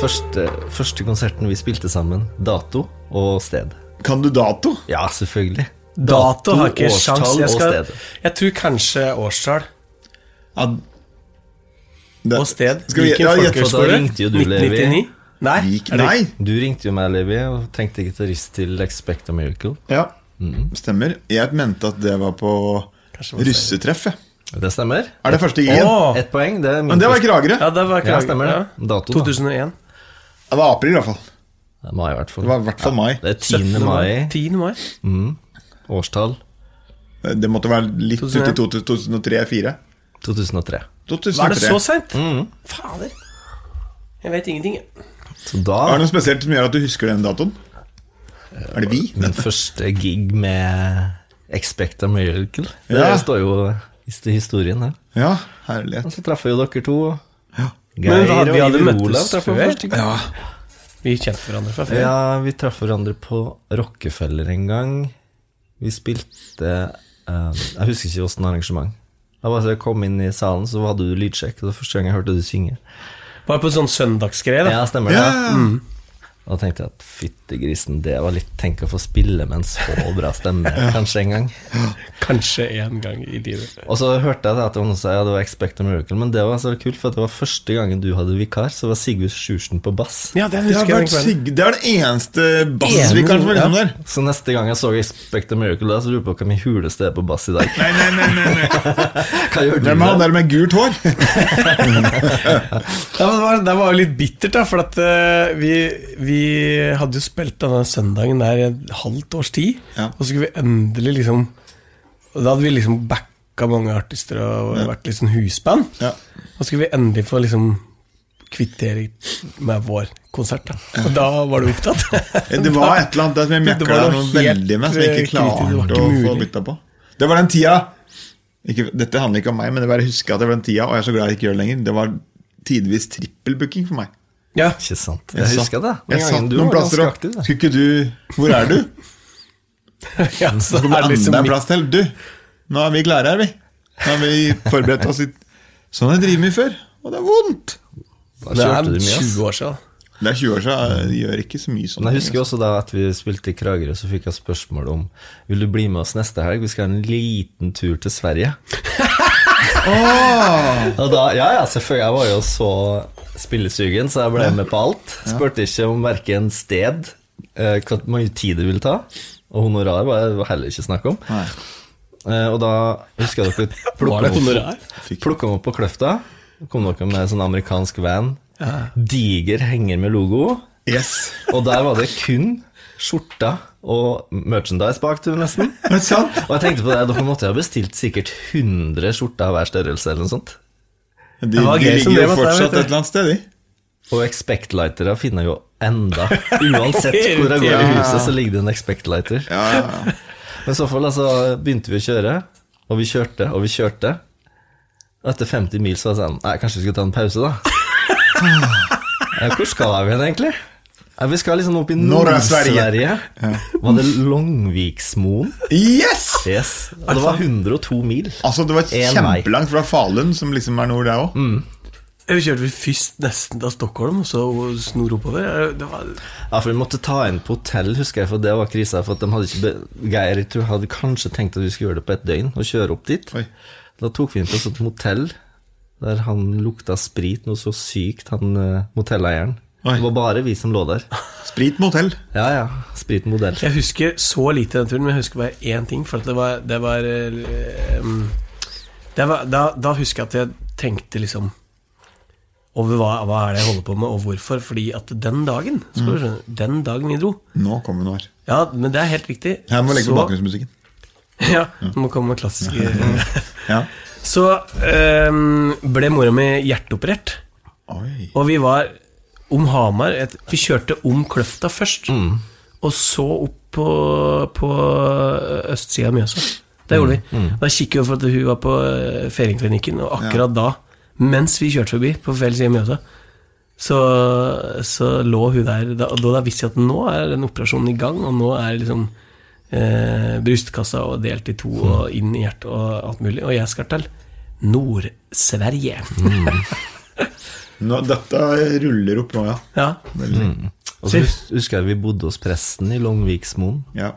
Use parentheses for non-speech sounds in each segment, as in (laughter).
Første, første konserten vi spilte sammen. Dato og sted. Kan du dato? Ja, selvfølgelig. Dato har ikke årstall sjans. Jeg, og skal, sted. jeg tror kanskje årstall Ja. Det- og sted. Skal vi- Viken ja, gjett for at da folkehøgskole. ringte jo du, Levi. 1999. Nei, Vik- er det- Nei! Du ringte jo meg, Levi, og trengte gitarist til Expect a Miracle. Ja, Mm. stemmer. Jeg mente at det var på Kanskje det var russetreff. jeg. Det stemmer. Er det første i-en? Åh. Ett poeng. Det er min Men det var ikke Kragerø. Ja, det var Ja, stemmer det. Dato, da. 2001. Det var april, i hvert fall. Det er mai, i hvert fall. Det var i hvert fall mai. Det er 10. 17. mai. 10. mai. Årstall Det måtte være litt ut i 2001. 2003-2004. 2003. Var det 2003. så seint? Mm. Fader. Jeg vet ingenting. jeg. Så Er det da noe spesielt som gjør at du husker den datoen? Er det vi? Min første gig med Expect a Miracle. Det Ja. står jo i historien her. Ja, herlighet. Og så traff jeg jo dere to. Men da hadde vi hadde Oliver møttes traff jeg før. først, ikke sant? Vi kjente hverandre fra før. Ja, vi traff hverandre på Rockefeller en gang. Vi spilte eh, Jeg husker ikke åssen arrangement. Jeg bare så jeg kom inn i salen, så hadde du lydsjekk. og Det var første gang jeg hørte du synge. Var på sånn søndagsgreie, da. Ja, stemmer det? Ja, Mm. Da tenkte jeg at fytti grisen, det var litt Tenk å få spille med en så bra stemme, kanskje en gang. Kanskje én gang i livet. Og så hørte jeg det at noen sa ja, det var Expect a Miracle, men det var så kult, for at det var første gangen du hadde vikar, så var Sigurd Sjursen på bass. Ja, den Det, har husker jeg. vært den kvelden. sigg- det er den eneste bassvikaren som er innom der. Så neste gang jeg så Expect a Miracle, da, så lurte jeg på hvem i huleste er på bass i dag. Nei, nei, nei, nei, nei. Hva gjør du Hvem er han da? der med gult hår? Ja, men det, var, det var jo litt bittert, da, for at eh, vi, vi hadde jo spilt denne søndagen der i et halvt års tid. Ja. Og så skulle vi endelig liksom Og da hadde vi liksom backa mange artister og vært litt sånn husband. Ja. Og så skulle vi endelig få liksom kvittere med vår konsert. Da. Og da var du opptatt. (laughs) Det var et eller annet der som jeg (laughs) Det mjekka var noe noe helt, veldig med, som jeg ikke eh, kritisk, det var klarte ikke å få mulig. bytta på. Det var den tida ikke, Dette handler ikke om meg, men det var å huske at det var den tida, og jeg er så glad jeg ikke gjør det lenger. Det var tidvis trippelbooking for meg. ja. (laughs) Ikke sant. Jeg husker det. Den Jeg satt gangen du noen var plasser ganske opp. aktiv. da. Skulle ikke du Hvor er du? ja, så Så kommer er det det liksom enda en mitt- plass til. Du, nå er vi klare her, vi. Nå har vi forberedt oss litt. Sånn har jeg drevet med før, og det er vondt. Da Det kjørte er du mye, ass. 20 år siden. Det er 20 år siden, jeg gjør ikke så mye sånn. Men jeg husker også da at vi spilte i Kragerø, så fikk jeg spørsmål om Vil du bli med oss neste helg, vi skal ha en liten tur til Sverige. (laughs) Og da, ja, ja, selvfølgelig. Jeg var jo så spillesugen, så jeg ble med på alt. Spurte ikke om verken sted, eh, hvor mye tid det ville ta, og honorar var det heller ikke snakk om. altså. Nei. Eh, og da husker jeg dere (laughs) Var det plukka meg honorar? opp, plukket meg opp på Kløfta. Kom dere med en sånn amerikansk van. Diger henger med logo. Yes. (laughs) Og der var det kun skjorta og merchandise bak tur, nesten. Er det sant? Og jeg tenkte på det, dere måtte jo ha bestilt sikkert 100 skjorter av hver størrelse eller noe sånt. De, var de gøy ligger jo som drev at det, vet fortsatt du. et eller annet sted, de. Og Expect-lightere finner jeg jo (laughs) enda. Uansett hvor jeg går i huset, så ligger det en Expect-lighter. Ja, ja, ja. Men i så fall altså, begynte vi å kjøre, og vi kjørte, og vi kjørte. Og etter 50 mil så var jeg sånn Nei, kanskje vi skal ta en pause, da. (sighs) Ja, Hvor skal vi hen, egentlig? Ja, vi skal liksom opp i Norra-Sverige. Nord-Sverige. Var det Longviksmoen? Yes! Yes. Og det var 102 mil. Altså, det var En vei. kjempelangt fra Falun, som liksom er nord, det òg. Vi kjørte vi først nesten til Stockholm, og så snor oppover. Det var, Ja, for vi måtte ta inn på hotell, husker jeg, for det var krisa. For at de hadde ikke be Geir jeg tror, hadde kanskje tenkt at vi skulle gjøre det på et døgn, og kjøre opp dit. Oi. Da tok vi inn på et sånt motell der han lukta sprit noe så sykt, han eh, motelleieren. Oi. Det var bare vi som lå (laughs) der. Sprit motell. Ja ja, spritmodell. jeg husker så lite den turen, men jeg husker bare én ting. For at det var, det var, eh, um, det var da, da husker jeg at jeg tenkte liksom over hva, hva er det jeg holder på med, og hvorfor. Fordi at den dagen skal Mm. du skjønne, Den dagen vi dro Nå kommer hun her. Ja, men det er helt riktig. Her må jeg legge på så, bakgrunnsmusikken. (laughs) ja, må komme (laughs) med klassiske Ja. Så eh, ble mora mi hjerteoperert. Oi. Og vi var om Hamar et, Vi kjørte om Kløfta først, og så opp på, på østsida av Mjøsa. Det gjorde vi. Da kikket vi for at hun var på eh, Ferienklinikken, og akkurat da, mens vi kjørte forbi på feil side av Mjøsa, så, så lå hun der. Da, og da visste jeg at nå er den operasjonen i gang, og nå er liksom eh, brystkassa og delt i to og inn i hjertet og alt mulig. Og jeg skal til Nord-Sverige. Nå, dette ruller opp nå, ja. Ja. Veldig. Og så hus- husker jeg vi bodde hos presten i Longviksmoen. ja.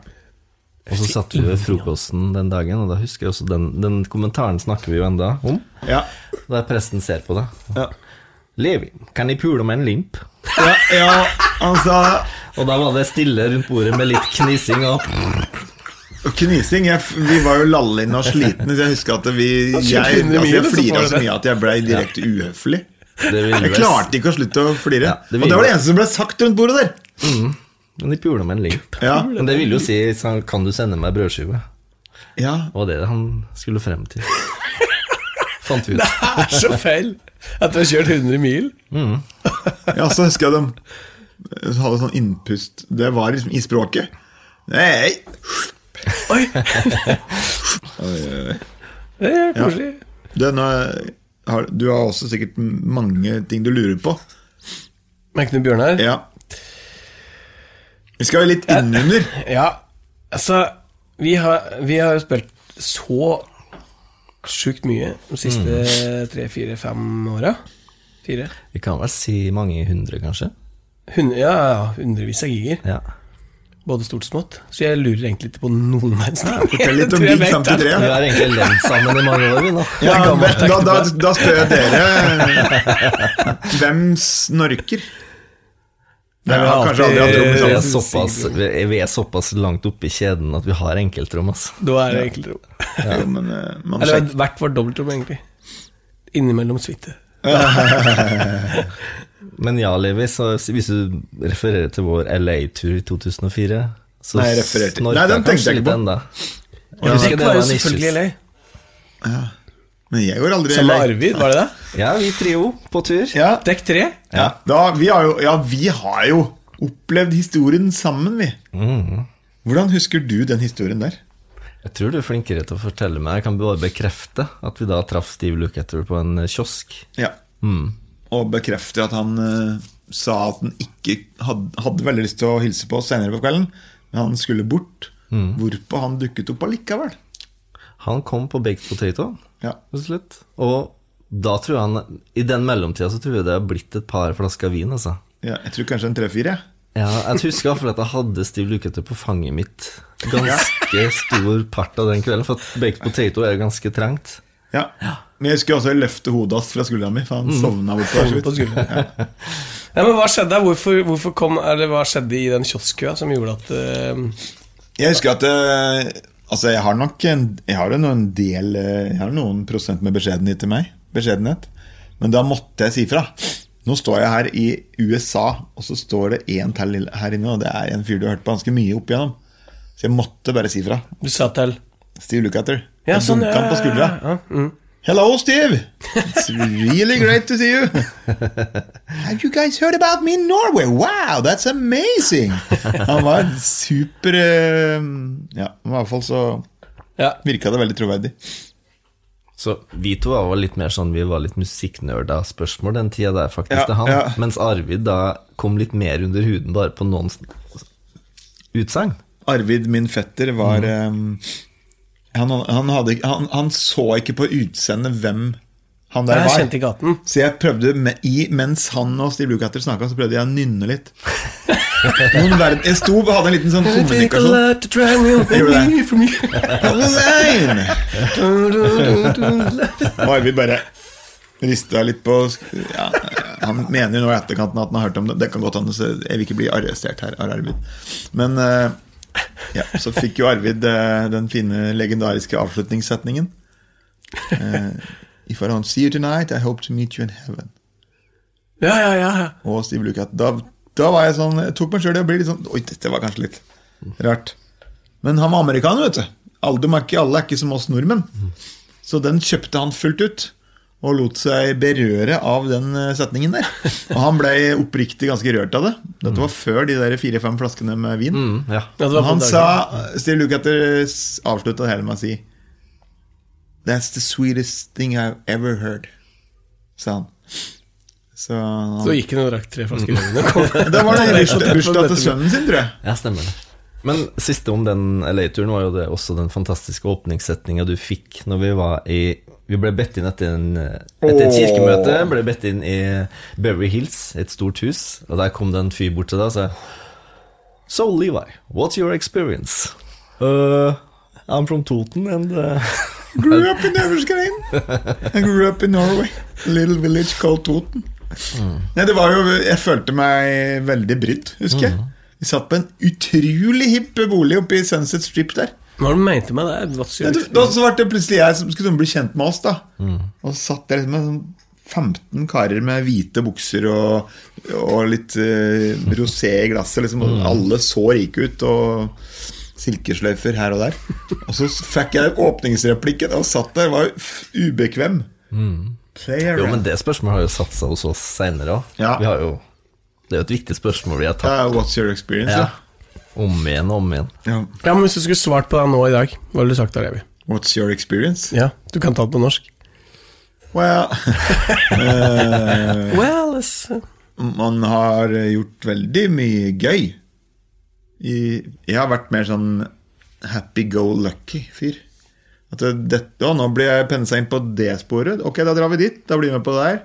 Og så satt vi ved frokosten den dagen, og da husker jeg også den, den kommentaren snakker vi jo enda om. Ja. Der presten ser på deg. Ja. Levi, kan jeg pule med en limp? Ja, ja, altså, han sa Og da var det stille rundt bordet med litt knising og Knising. Jeg, f- vi var jo lallende og slitne, så jeg husker at vi Jeg, altså, jeg flira så mye at jeg blei direkte uhøflig. Det Jeg klarte ikke å slutte å flire. Ja, det og ville det var det vært- eneste som ble sagt rundt bordet der. Men de puler med en limp. Ja. Men det ville jo si sånn, Kan du sende meg brødskive? Ja, Det var det han skulle frem til. Fant vi ut. Det er så feil at du har kjørt 100 mil. ja så husker jeg dem hadde sånn innpust Det var liksom i språket. Nei, Oi! Det er koselig. det, nå har, Du har også sikkert mange ting du lurer på. Merker du Bjørnar? Ja. Vi skal jo litt (laughs) innunder. Ja, altså Vi har, vi har jo spilt så sjukt mye de siste tre, fire, fem åra. Fire. Vi kan vel si mange hundre, kanskje? Hundre, ja, ja, hundrevis av giger. Ja. Både stort og smått. Så jeg lurer egentlig ikke på noen verdens ting. Fortell litt om Jeg (laughs) tror jeg Big vet det. 53. Vi har egentlig levd sammen i mange år, vi nå. Ja, Det er gammelt, men da, da, tenkte da spør jeg dere eh, Hvem snorker? Nei, vi har kanskje aldri hatt rom Eh, Vi er sammen. såpass, vi vi er såpass langt oppe i kjeden at vi har enkeltrom, altså. Da er det egentlig rom. Jo, men eh, man Eller sjekker. hvert vårt dobbeltrom, egentlig. Innimellom suite. Men ja, Levi, så hvis du refererer til vår LA-tur i 2004 så Nei, jeg refererer til- snorker Nei, den jeg kanskje tenkte jeg ikke litt på. enda. Ja, husker det var jo var en selvfølgelig issues. LA. Men jeg går aldri i Sammen med LA. Arvid, var det det? Ja, vi trio på tur. Ja, Dekk tre. ja. Da, vi har jo, ja, vi har jo opplevd historien sammen, vi. Mhm. Hvordan husker du den historien der? Jeg tror du er flinkere til å fortelle meg. Jeg kan bare bekrefte at vi da traff Steve Lukather på en kiosk. Ja. Mm. Og bekrefter at han eh, sa at han ikke hadde, hadde veldig lyst til å hilse på oss senere på kvelden, men han skulle bort. Hvorpå han dukket opp allikevel. Han kom på baked potato, Ja. rett og slett. Og da tror jeg han I den mellomtida så tror jeg det har blitt et par flasker vin, altså. Ja, jeg tror kanskje en tre-fire. Ja, (laughs) jeg husker iallfall at jeg hadde Steve Lukather på fanget mitt ganske stor part av den kvelden, for at baked potato er ganske trengt. Ja. Mm. Men jeg husker også jeg løfte hodet hans fra skuldra mi, for han sovna bortpå. Over På skulderen. (laughs) Nei, men hva skjedde? der? Hvorfor, hvorfor kom, eller hva skjedde i den kioskkøa som gjorde at eh, Jeg husker at eh, Altså, jeg har nok en, jeg har jo noen del eh, Jeg har noen prosent med beskjedenhet til meg. Beskjedenhet. Men da måtte jeg si fra. Nå står jeg her i USA, og så står det én til her inne, og det er en fyr du har hørt på ganske mye opp igjennom. Så jeg måtte bare si fra. du sa til Steve Lukather. Ja, jeg sånn, dunket han på ja, skuldra. ja, Hello, Steve! It's really great to see you. (laughs) Have you guys heard about me in Norway? Wow, that's amazing! Han var en super eh, Ja, i hvert fall så Ja. virka det veldig troverdig. Så vi to var vel litt mer sånn Vi var litt musikknerda spørsmål den tida der, faktisk, Ja, til han. ja. Mens Arvid da kom litt mer under huden bare på noen s- utsagn. Arvid, min fetter, var eh, han, han, hadde, han, han så ikke på utseendet hvem han der Jeg var. kjente ikke hatten. Så jeg prøvde med, i, Mens han og Steve Lukather snakka, så prøvde jeg å nynne (laughs) litt. Noen verden, jeg sto og hadde en liten sånn kommunikasjon. Jeg gjorde det. Hussein! Og Arvid bare rista litt på ja, Han mener jo nå i etterkanten at han har hørt om det. Det kan godt hende, så jeg vil ikke bli arrestert her av Arvid. Men eh, ja, så fikk jo Arvid eh, den fine, legendariske avslutningssetningen. Eh, If I don't see you tonight, I hope to meet you in heaven. (laughs) Ja, ja, ja. ja. Og Steve Lukat. Da, da var jeg sånn Jeg tok meg sjøl i å bli litt sånn Oi, dette var kanskje litt rart. Men han var amerikaner, vet du. Alle, de er ikke, alle er ikke som oss nordmenn. Så den kjøpte han fullt ut. Og lot seg berøre av den eh, setningen der. Og han ble oppriktig ganske rørt av det. Dette var før de der fire-fem flaskene med vin. Mm, ja. Ja, det var Og på han dagen. sa Steve Lukather avslutta det hele med å si That's the sweetest thing I've ever heard, sa han. Så han Så gikk han og drakk tre flasker rødvin. og kom. det var den Nei, bursdag det- bursdag til sønnen sin, tror jeg. ja, stemmer det. Men siste om den LA-turen var jo det også den fantastiske åpningssetninga du fikk når vi var i Vi ble bedt inn etter, en, etter et Åh. kirkemøte. Ble bedt inn i Beverly Hills, et stort hus. Og der kom det en fyr bort til deg og sa So Levi, what's your experience? Uh, I'm from Toten and uh, Grew up in Øverskrein. I grew up in Norway. A little village called Toten. Nei, det var jo, jeg følte meg veldig brydd, husker jeg. Vi satt på en utrolig hipp bolig oppe i Sunset Strip der. Hva var det du mente med det? What's your Ja, du- Da så var det plutselig jeg som skulle bli kjent med oss, da. Mm. Og så satt jeg liksom med sånn 15 karer med hvite bukser og, og litt eh, rosé i glasset. Liksom, Mm. og Alle så rike ut, og silkesløyfer her og der. Og så fikk jeg åpningsreplikken, og satt der, var f- ubekvem. (laughs) Player. Mm. Jo, men det spørsmålet har jo satt seg hos oss seinere òg. Ja. Vi har jo Det er jo et viktig spørsmål vi har tatt Ja, what's your experience? ja. Ja. om igjen og om igjen. Ja. Ja, men Hvis du skulle svart på det nå i dag, hva ville du sagt da, Levi? What's your experience? Ja, Du kan ta det på norsk. Well, Well, it's... man har gjort veldig mye gøy. I, jeg har vært mer sånn happy-go-lucky-fyr. At det- dette, å, nå blir jeg pensa inn på det sporet. Ok, da drar vi dit. Da blir vi med på det der.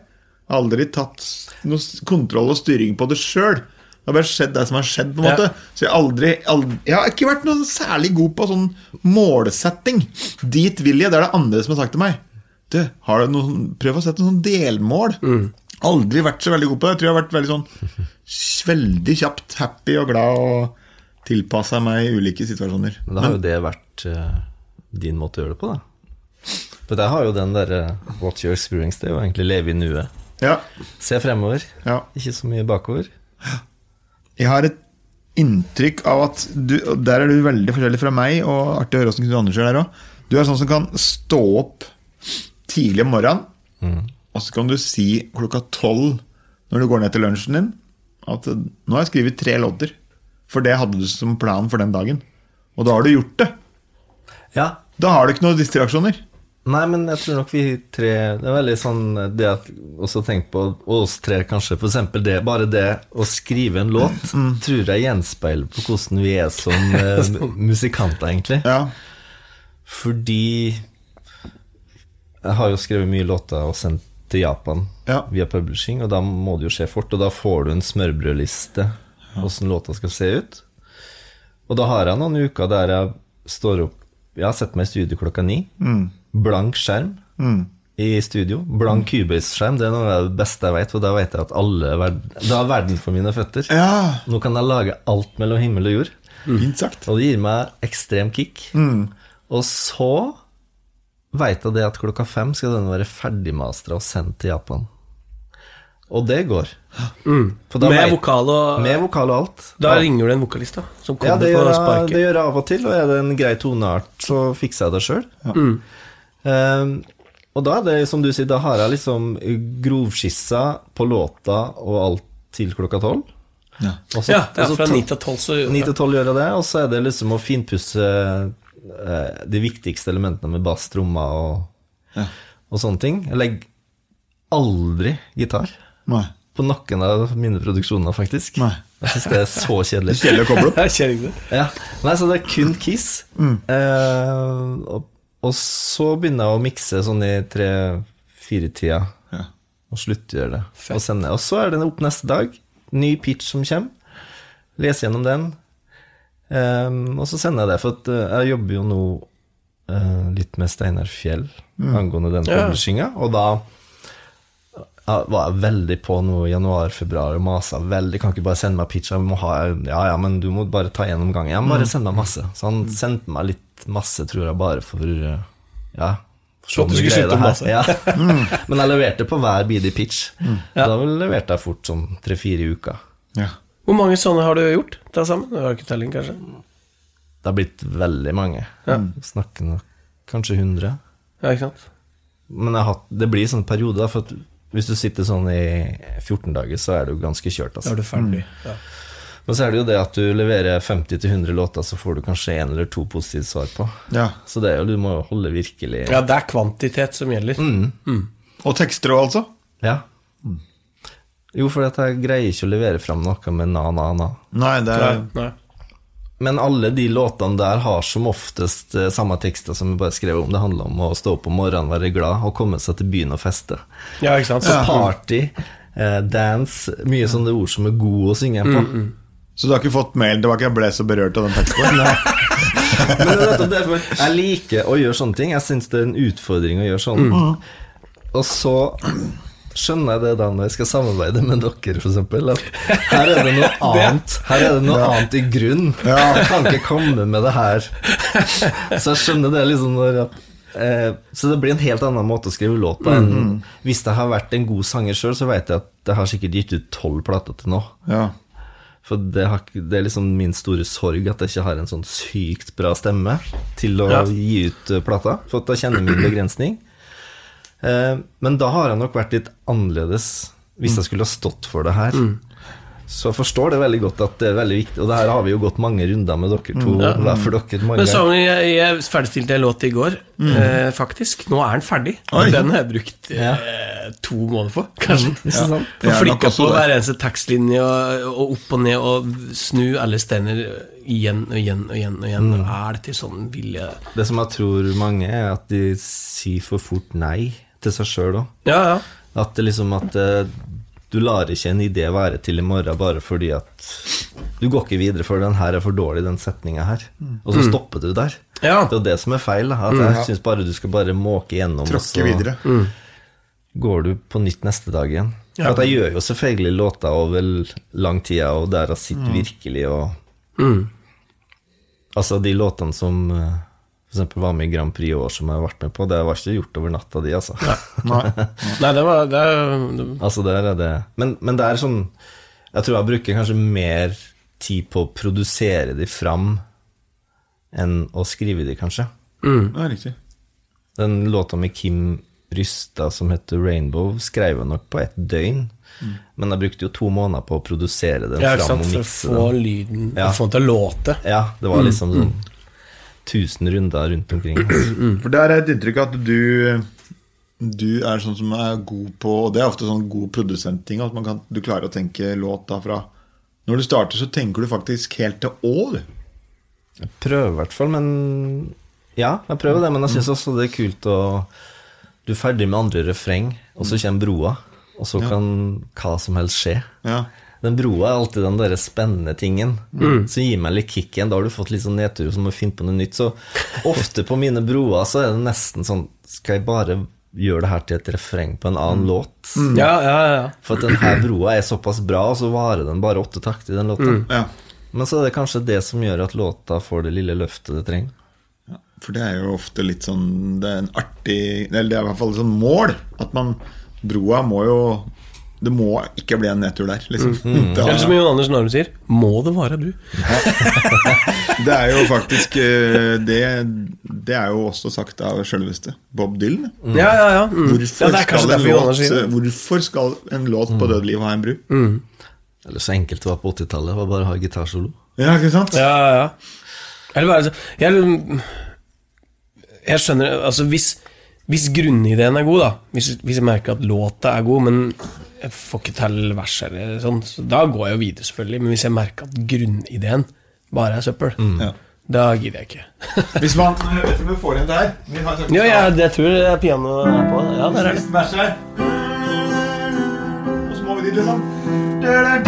Aldri tatt s- noe s- kontroll og styring på det sjøl. Det har bare skjedd det som har skjedd. på en Ja. måte Så jeg, har aldri, aldri, jeg har ikke vært noe særlig god på sånn målsetting. Dit vil jeg, det er det andre som har sagt til meg. Du, har du noen, prøv å sette noen sånn delmål. Aldri vært så veldig god på det. Jeg tror jeg har vært veldig sånn s- veldig kjapt happy og glad og tilpassa meg i ulike situasjoner. Men da har jo det vært eh, din måte å gjøre det på, da. For der har jo den derre What's your experience? Det er jo egentlig leve i nuet. Ja, Se fremover, ja. ikke så mye bakover. Jeg har et inntrykk av at du, og Der er du veldig forskjellig fra meg, og artig å høre åssen Knut Anders gjør der òg. Du er sånn som kan stå opp tidlig om morgenen, og så kan du si klokka tolv når du går ned til lunsjen din, at eh, 'nå har jeg skrevet tre låter'. For det hadde du som plan for den dagen. Og da har du gjort det. Ja. Da har du ikke noen distraksjoner. Nei, men jeg tror nok vi tre Det er veldig sånn det at også tenkt på og oss tre, kanskje. For eksempel det, bare det å skrive en låt tror jeg gjenspeiler på hvordan vi er som eh, musikanter, egentlig. Ja, Fordi Jeg har jo skrevet mye låter og sendt til Japan Ja. via publishing, og da må det jo skje fort. Og da får du en smørbrødliste åssen låta skal se ut. Og da har jeg noen uker der jeg står opp Jeg har sett meg i studio klokka ni. Blank skjerm i studio. Blank kubøysskjerm. Det er noe av det beste jeg vet, for da vet jeg at alle verd Da er verden for mine føtter. ja. Nå kan jeg lage alt mellom himmel og jord. Mm. fint sagt. Mm. Og det gir meg ekstrem kick. Og så veit jeg det at klokka fem skal den være ferdigmastra og sendt til Japan. Og det går. For da Mm. Med vet- vokal og med vokal og alt. Da Ja. ringer du en vokalist, da. Som ja, kommer det gjør, på jeg, det sparket. gjør jeg av og til, og er det en grei toneart, så fikser jeg det sjøl. Mm. og da er det som du sier, da har jeg liksom grovskissa på låta og alt til klokka tolv. Ja. Og så- Ja, det og så er fra ta- 9 til 12, så 9 til 12 gjør jeg det, og så er det liksom å finpusse eh, de viktigste elementene med bass, trommer og, og sånne ting. Jeg legger aldri gitar Nei. på noen av mine produksjoner, faktisk. Nei. Jeg syns det er så kjedelig. (laughs) Kjedelig å koble opp. Jeg kjenner ikke det. (laughs) Ja. Nei, så det er kun Kiss. Mm. Eh, og, og så begynner jeg å mikse sånn i tre-fire-tida, Ja. og sluttgjøre det. Og, sende. og så er det opp neste dag. Ny pitch som kommer. Lese gjennom den. Eh, og så sender jeg det, for at, eh, jeg jobber jo nå eh, litt med Steinar Fjell angående den Ja. publishinga, og da ja, var jeg veldig på nå i januar, februar og masa veldig. Kan ikke bare sende meg pitch, jeg må ha Ja ja, men du må bare ta gjennom gangen. Jeg må bare sende meg masse. Så han sendte meg litt masse, tror jeg, bare for uh, Ja. For at du skulle slutte å mase. Ja. (laughs) Men jeg leverte på hver bidige pitch. Da leverte jeg fort sånn tre-fire uker. Ja. Hvor mange sånne har du gjort til sammen? Du har ikke telling, kanskje? Det har blitt veldig mange. Mm. Snakker nok kanskje 100. Ja, ikke sant? Men jeg har, hatt- det blir sånn periode, da, for at hvis du sitter sånn i 14 dager, så er du ganske kjørt, altså. Da er du ferdig. Ja. Men så er det jo det at du leverer 50-100 låter, så får du kanskje én eller to positive svar på. ja. Så det er jo, du må jo holde virkelig ja, det er kvantitet som gjelder. Og tekster òg, altså? Ja. Mm. Jo, for jeg greier ikke å levere fram noe med na-na-na. Nei, det Nei, er nei. Men alle de låtene der har som oftest eh, samme tekster som vi bare skrev om. Det handler om å stå opp om morgenen, være glad og komme seg til byen og feste. Ja, ikke sant? Så party, eh, dance, mye sånne ord som er gode å synge på. Så du har ikke fått mail tilbake? Jeg ble så berørt av den Men teksten. det er nettopp derfor jeg liker å gjøre sånne ting. Jeg syns det er en utfordring å gjøre sånn. Og så skjønner jeg det da når jeg skal samarbeide med dere, f.eks. At her er (laughs) det noe annet Her er det noe annet i grunn. Jeg kan ikke komme med det her. Så jeg skjønner det liksom når eh, Så det blir en helt annen måte å skrive låt på enn hvis jeg har vært en god sanger sjøl, så veit jeg at jeg har sikkert gitt ut tolv plater til nå. Ja. For det, har, ikke- det er liksom min store sorg at jeg ikke har en sånn sykt bra stemme til å Ja. gi ut eh, plata. For at da kjenner jeg min begrensning. Eh, men da har jeg nok vært litt annerledes hvis jeg skulle ha stått for det her. Mm. Så jeg forstår det veldig godt at det er veldig viktig. Og det her har vi jo gått mange runder med dere to. Hver for dere mange Mm. Men ganger. sangen, jeg, jeg ferdigstilte en låt i går, eh, faktisk. Nå er den ferdig. Oi. Og Den har jeg brukt eh, to måneder på, kanskje. Ikke sant? Det er Og nok flikka også på det. hver eneste tekstlinje, og, og opp og ned, og snu alle steiner igjen og igjen og igjen. og igjen Og Er dette sånn vilje Det som jeg tror mange, er at de sier for fort nei til seg sjøl òg. Ja, ja. At det liksom at eh, du lar ikke en idé være til i morgen bare fordi at du går ikke videre for den her er for dårlig, den setninga her. Og så Mm. stopper du der. Ja. Det er jo det som er feil. da, At jeg syns bare du skal bare måke gjennom, og Tråkke videre. går du på nytt neste dag igjen. Ja. For at jeg gjør jo selvfølgelig låter over lang tid, og der jeg Mm. sitter virkelig og Altså, de låtene som eh, for eksempel var med i Grand Prix i år, som jeg har vært med på, det var ikke gjort over natta, de, altså. Nei. Nei, det var det, er- det, Altså der er det men, men det er sånn Jeg tror jeg bruker kanskje mer tid på å produsere de fram enn å skrive de, kanskje. Det er riktig. Den låta med Kim Rysta som heter 'Rainbow', skrev jeg nok på ett døgn. Men jeg brukte jo to måneder på å produsere den Mm. ja, ikke fram sant, og For å mikse få Mm. den. lyden Ja. Få den til å låte. Ja, det var liksom sånn tusen runder rundt omkring. altså. For der er et inntrykk at du Du er sånn som er god på Og det er ofte sånn god produsentting At man kan, du klarer å tenke låt derfra Når du starter så tenker du faktisk helt til å du. Jeg prøver i hvert fall, men Ja, jeg prøver det, men jeg syns også det er kult å Du er ferdig med andre refreng, og så kommer broa, og så kan hva som helst skje. Ja. Den broa er alltid den derre spennende tingen som gir meg litt kick igjen. Da har du fått litt sånn nedtur som må finne på noe nytt. Så ofte på mine broer så er det nesten sånn Skal jeg bare gjøre det her til et refreng på en annen låt? Ja, ja, ja. For at den her broa er såpass bra, og så varer den bare åtte takter, den låta. ja Men så er det kanskje det som gjør at låta får det lille løftet det trenger. For det er jo ofte litt sånn Det er en artig Eller det er i hvert fall et sånn mål At man Broa må jo Det må ikke bli en nedtur der liksom. (laughs) Da- Eller som Jon Anders Norm sier, må det være bru? Det er jo faktisk eh, det, det er jo også sagt av selveste Bob Dylan Ja, ja, ja. Mm. Hvorfor, ja, det er kanskje skal en derfor Jon låt, Anders Mm. sier det. hvorfor skal en låt på Død liv ha en bru? Eller så enkelt det var på 80-tallet, var bare å ha gitarsolo. Ja, ikke sant? Ja, ja, ja. Eller bare, altså, jeg, jeg skjønner Altså, hvis, hvis grunnideen er god, da hvis, hvis jeg merker at låta er god, men jeg får ikke til vers eller sånn, så da går jeg jo videre, selvfølgelig. Men hvis jeg merker at grunnideen bare er søppel, Ja. da gidder jeg ikke. Hvis man Jeg vet ikke om vi får igjen det her. Vi har sagt- (laughs) Ja, jeg, jeg tror det er pianoet er på. Ja, der (laughs) er det. Siste vers her. Og så må vi dit, liksom.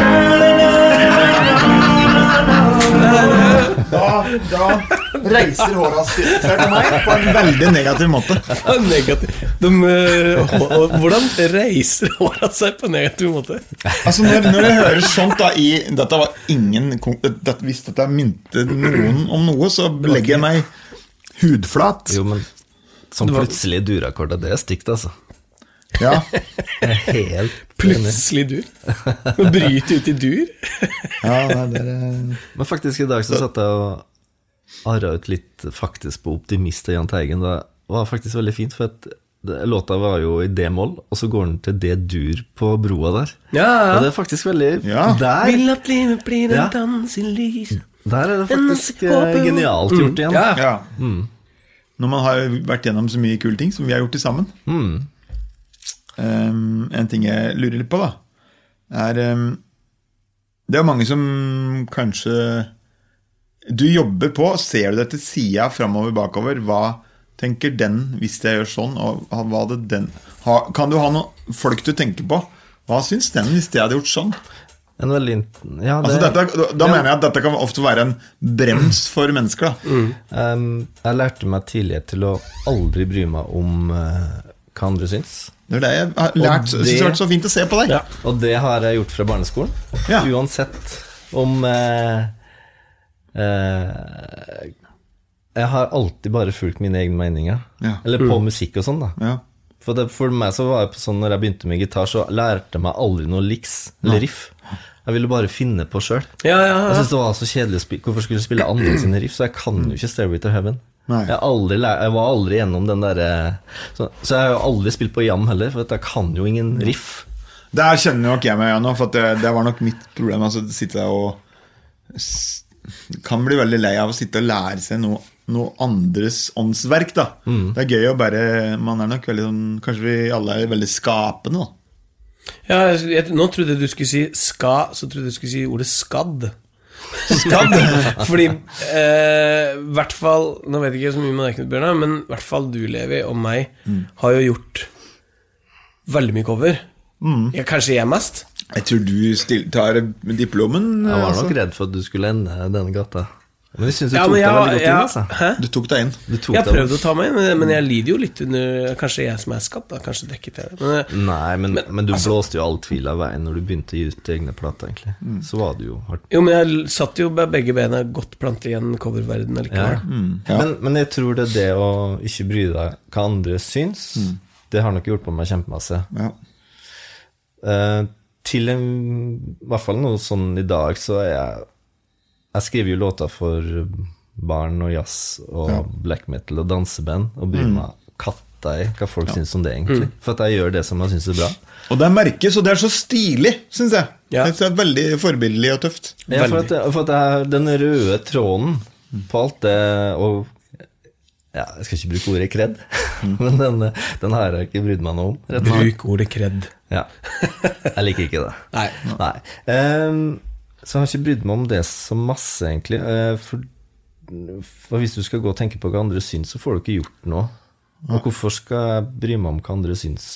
Da, da reiser håra seg til meg på en veldig negativ måte. Ja, negativ. De, eh, hå- og hvordan reiser håra seg på en negativ måte? Altså når, når jeg hører sånt da i, Dette var ingen kon- dette, Hvis dette minte noen om noe Så legger jeg meg hudflat Jo, men som var- plutselig durakkord, det er stygt, altså. Ja, Jeg er Helt enig. (laughs) Plutselig dur. Nå bryter ut i dur. ja nei, det er, eh, Men faktisk, i dag så satt jeg og arra ut litt faktisk på Optimist av Jahn Teigen. Det var faktisk veldig fint, for at det- låta var jo i d-moll, og så går den til d-dur på broa der. Ja, Og det er faktisk veldig Ja. der, Vil at livet blir en Ja. dans i lys der er det faktisk Den eh, håper- genialt gjort igjen. Mm. Ja, ja. Mm. Når man har vært gjennom så mye kule ting Som vi har gjort til sammen Mm. Ehm, En ting jeg lurer litt på da Er ehm, Det er mange som kanskje Du jobber på, ser du det til sida framover bakover? Hva tenker den hvis jeg gjør sånn? Og hva hadde den ha, Kan du ha noen folk du tenker på? Hva syns den hvis jeg hadde gjort sånn? En veldig int- Ja, det Altså, dette, da mener jeg at dette kan ofte være en brems for mennesker. Da. Ehm, Jeg lærte meg tidlig til å aldri bry meg om eh, hva andre syns. Det er det jeg har Og lært. Jeg synes det har vært det- så fint å se på deg. Ja. Og det har jeg gjort fra barneskolen. Ja. Uansett om eh, eh, Jeg har alltid bare fulgt mine egne meninger. Ja. Mm. Eller på musikk og sånn, da. Ja. For, det, for meg så var det på sånn Når jeg begynte med gitar, så lærte jeg meg aldri noe liks eller riff. Jeg ville bare finne på sjøl. Ja, ja, Jeg ja. synes det var så kjedelig å spille Hvorfor skulle du spille andre sine riff? Så jeg kan jo ikke Stairway to Heaven. Nei. Jeg, har aldri, lær- jeg var aldri gjennom den derre så, så jeg har jo aldri spilt på jam heller, for at jeg kan jo ingen riff. Der kjenner nok jeg meg igjen nå, for at det, det var nok mitt problem. Altså, sitte og s- Kan bli veldig lei av å sitte og lære seg noe, noe andres åndsverk, da. Mm. Det er gøy å bare Man er nok veldig sånn Kanskje vi alle er veldig skapende, da. ja jeg, jeg, nå trodde jeg du skulle si ska, så trodde jeg du skulle si ordet skadd. Skadd! (laughs) Fordi eh, hvert fall Nå vet jeg ikke så mye med deg, Knut Bjørnar, men hvert fall du, Levi, og meg Mm. har jo gjort veldig mye cover. Mm. Ja, kanskje jeg mest. Jeg tror du still, tar diplomen. Jeg var altså. nok redd for at du skulle ende denne gata. Men jeg syns du Ja, tok men deg jeg, veldig godt inn. jeg, Altså. hæ? Du tok deg inn. Du tok jeg har deg- prøvd å ta meg inn, men- men jeg lider jo litt under Kanskje jeg som er skapt, da. Kanskje det ikke til det. Men, eh, Nei, men, men, Men, du blåste jo all tvil av veien når du begynte å gi ut egne plater, egentlig. Mm. Så var det jo hardt jo, men jeg l- satt jo med begge bena godt plantet i en coververden Ja. Mm. allikevel. Ja. Men, men jeg tror det er det å ikke bry deg hva andre syns, Mm. det har nok hjulpet meg kjempemasse. Ja. Eh, til en, i hvert fall noe sånn i dag, så er jeg Jeg skriver jo låter for barn og jazz og black metal og danseband, og bryr meg katta i hva folk syns om det, egentlig. For at jeg gjør det som jeg syns er bra. Og det merkes, og det er så stilig, syns jeg. Ja. Jeg synes Det er Veldig forbilledlig og tøft. Ja, for at, for at det er den røde tråden på alt det og ja, Jeg skal ikke bruke ordet kred, (laughs) men den, den har jeg ikke brydd meg noe om. Rett og slett. Bruk ordet kred. Ja. (laughs) Jeg liker ikke det. Nei. Nei. Ehm, så jeg har ikke brydd meg om det så masse, egentlig. Eh, for, for hvis du skal gå og tenke på hva andre syns, så får du ikke gjort noe. Og hvorfor skal jeg bry meg om hva andre syns,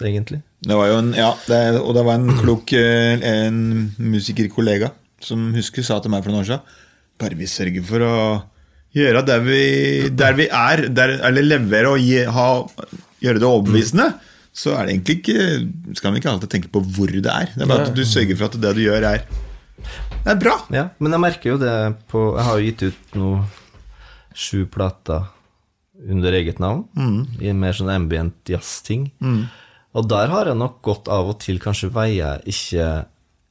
egentlig? Det var jo en, ja, det, og det var en klok eh, en musikerkollega som husker sa til meg for noen år siden Bare vi sørger for å gjøre det vi, der vi er, der, eller levere og gi, ha, gjøre det overbevisende, så er det egentlig ikke Skal man ikke alltid tenke på hvor det er. Det er bare at du sørger for at det du gjør, er, det er bra. Ja, men jeg merker jo det på Jeg har jo gitt ut nå sju plater under eget navn, i mer sånn ambient jazz-ting. Og der har jeg nok gått av og til kanskje veier jeg ikke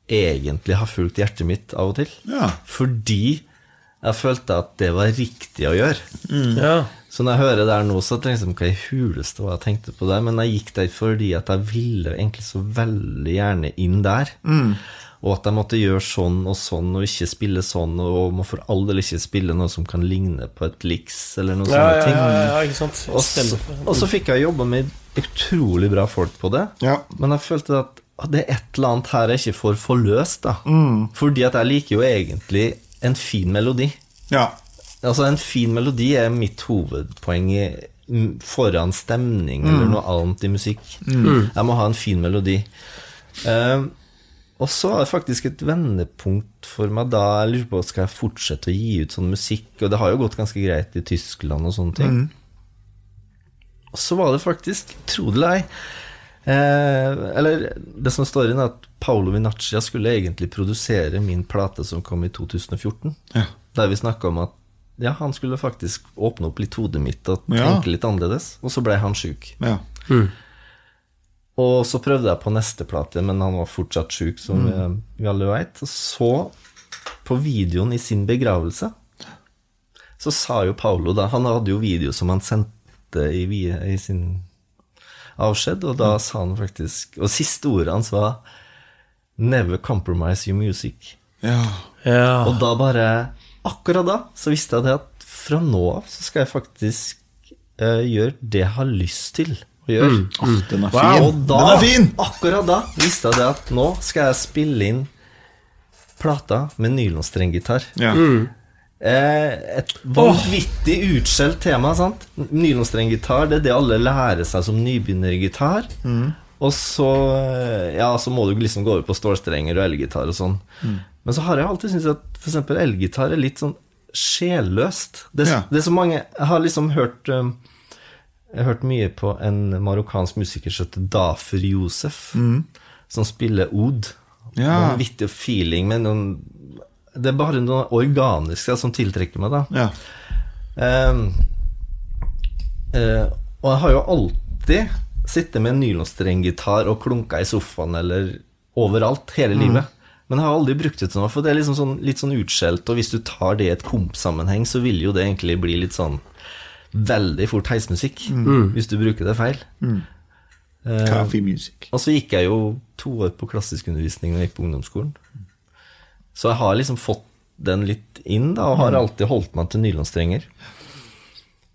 egentlig har fulgt hjertet mitt av og til. Ja. Fordi jeg følte at det var riktig å gjøre. Ja. Så når jeg hører det her nå, så tenker jeg liksom, hva i huleste var jeg tenkte på der? Men jeg gikk der fordi at jeg ville egentlig så veldig gjerne inn der. Mm. Og at jeg måtte gjøre sånn og sånn, og ikke spille sånn, og må for all del ikke spille noe som kan ligne på et liks, eller noen Ja, sånne ja, ting. ja, ja, ikke sant. Og Stemme så, for- og så fikk jeg jobba med utrolig bra folk på det. Ja. Men jeg følte at ah, det er et eller annet her jeg ikke får forløst. da Mm. Fordi at jeg liker jo egentlig en fin melodi. Ja. Altså En fin melodi er mitt hovedpoeng i, mm, foran stemning eller noe annet i musikk. Jeg må ha en fin melodi. Ehm, og så er det faktisk et vendepunkt for meg da jeg lurer på skal jeg fortsette å gi ut sånn musikk. Og det har jo gått ganske greit i Tyskland og sånne ting. Og så var det faktisk, tro det eller ei eh, Eller det som står inn, er at Paolo Vinaccia skulle egentlig produsere min plate som kom i 2014. Der vi snakka om at ja, han skulle faktisk åpne opp litt hodet mitt og tenke Ja. litt annerledes. Og så ble han sjuk. ja. Og så prøvde jeg på neste plate, men han var fortsatt sjuk, som vi, vi alle veit. Og så, på videoen i sin begravelse, så sa jo Paolo da Han hadde jo video som han sendte i, vi- i sin avskjed, og da sa han faktisk Og siste ordet hans var Never compromise your music. ja. Ja. Og da bare Akkurat da så visste jeg det at fra nå av så skal jeg faktisk eh, gjøre det jeg har lyst til å gjøre. Åh, den er fin! Wow, og da, Mm. den er fin! Akkurat da visste jeg det at nå skal jeg spille inn plata med nylonstrenggitar. Ja. Eh, et vanvittig utskjelt tema, sant? Nylonstrenggitar, det er det alle lærer seg som nybegynnergitar. Mm. Og så, eh, ja, så må du liksom gå over på stålstrenger og elgitar og sånn. Mm. Men så har jeg alltid syntes at f.eks. elgitar er litt sånn sjelløst. Det, Ja. det er så mange Jeg har liksom hørt um, jeg har hørt mye på en marokkansk musiker som heter Dafer Josef, som spiller oud. Mm. Ja. Vanvittig feeling, men noen, det er bare noe organisk ja, som tiltrekker meg, da. Ja. Ehm, eh, og jeg har jo alltid sittet med en nylonstrenggitar og klunka i sofaen eller overalt hele livet. Men jeg har aldri brukt det til noe, for det er liksom sånn, litt sånn utskjelt. Og hvis du tar det i et kompsammenheng, så vil jo det egentlig bli litt sånn veldig fort heismusikk. Hvis du bruker det feil. Coffee music. Og så gikk jeg jo to år på klassiskundervisning når jeg gikk på ungdomsskolen. Så jeg har liksom fått den litt inn, da, og har alltid holdt meg til nylonstrenger.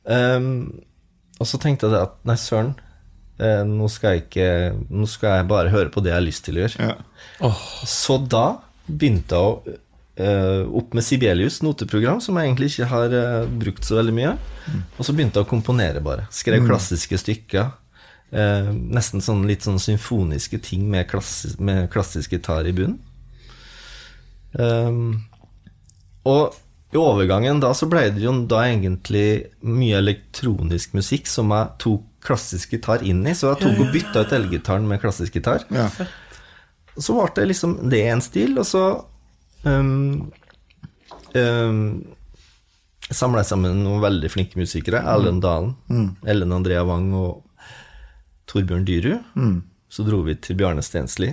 Ehm, og så tenkte jeg det at nei, søren, eh, nå, skal jeg ikke, nå skal jeg bare høre på det jeg har lyst til å gjøre. Ja. Så da begynte jeg å eh, opp med Sibelius noteprogram, som jeg egentlig ikke har eh, brukt så veldig mye. Og så begynte jeg å komponere, bare. Skrev klassiske stykker. eh, nesten sånn litt sånn symfoniske ting med, klassi med klassisk gitar i bunnen. Ehm, og i overgangen da så ble det jo da egentlig mye elektronisk musikk som jeg tok klassisk gitar inn i, så jeg tok og bytta ut elgitaren med klassisk gitar. Ja. Så var det liksom det en stil, og så um, um, samla jeg sammen noen veldig flinke Mm. musikere. Erlend Dalen, Ellen Andrea Wang og Torbjørn Dyrud. Mm. Så dro vi til Bjarne Stensli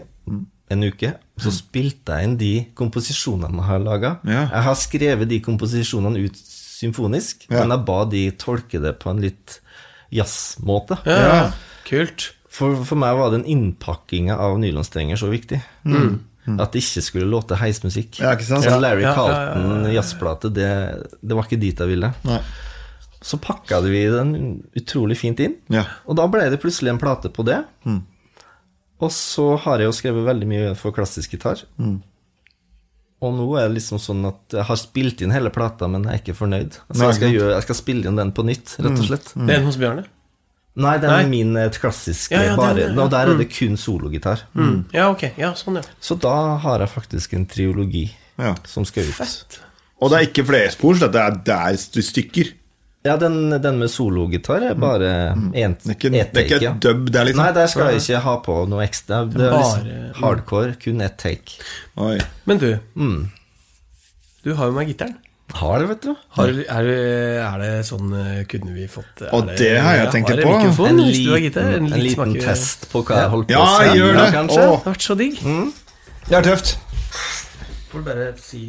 en uke. Så spilte jeg inn de komposisjonene jeg har laga. Mm. Ja. Jeg har skrevet de komposisjonene ut symfonisk, Ja. men jeg ba de tolke det på en litt jazzmåte. Ja, Ja. Kult. For, for meg var den innpakkinga av nylonstrenger så viktig. At det ikke skulle låte heismusikk. Mm. Ja, ikke sant? En Larry Ja, ja, ja, ja, ja. Carlton-jazzplate, det, det var ikke dit jeg ville. Nei. Så pakka vi den utrolig fint inn, Ja. Mm. og da ble det plutselig en plate på det. Og så har jeg jo skrevet veldig mye for klassisk gitar. Mm. Og nå er det liksom sånn at jeg har spilt inn hele plata, men jeg er ikke fornøyd. Så jeg Nei, skal, ikke sant. Mm. gjøre, jeg skal spille inn den på nytt, rett og slett. Det er en hos Bjarne. Nei, den Nei. er min eh, klassiske, Ja, ja, den, bare. ja, ja. Og der er Mm. det kun sologitar. Ja, ok. Ja, sånn, ja. Så da har jeg faktisk en triologi Ja. som skal ut. Og det er ikke flerspors, dette er, det er st- stykker. Ja, den, den med sologitar er bare én Mm. Det er ikke, det er ikke ja. et dub, det er liksom Mm. Nei, der skal jeg ikke ha på noe ekstra. Det er Bare- liksom hardcore, kun ett take. Oi. Men du, du har jo med gitaren. Har det, vet du. Har, er, er det sånn eh, Kunne vi fått er Og det har jeg tenkt litt på. Har jeg mikrofon En hvis du har liten, gitar? en liten liten smaker- test på hva jeg holdt på Ja, med. gjør det. kanskje? Åh. Det har vært så digg. Det er tøft. Får du bare si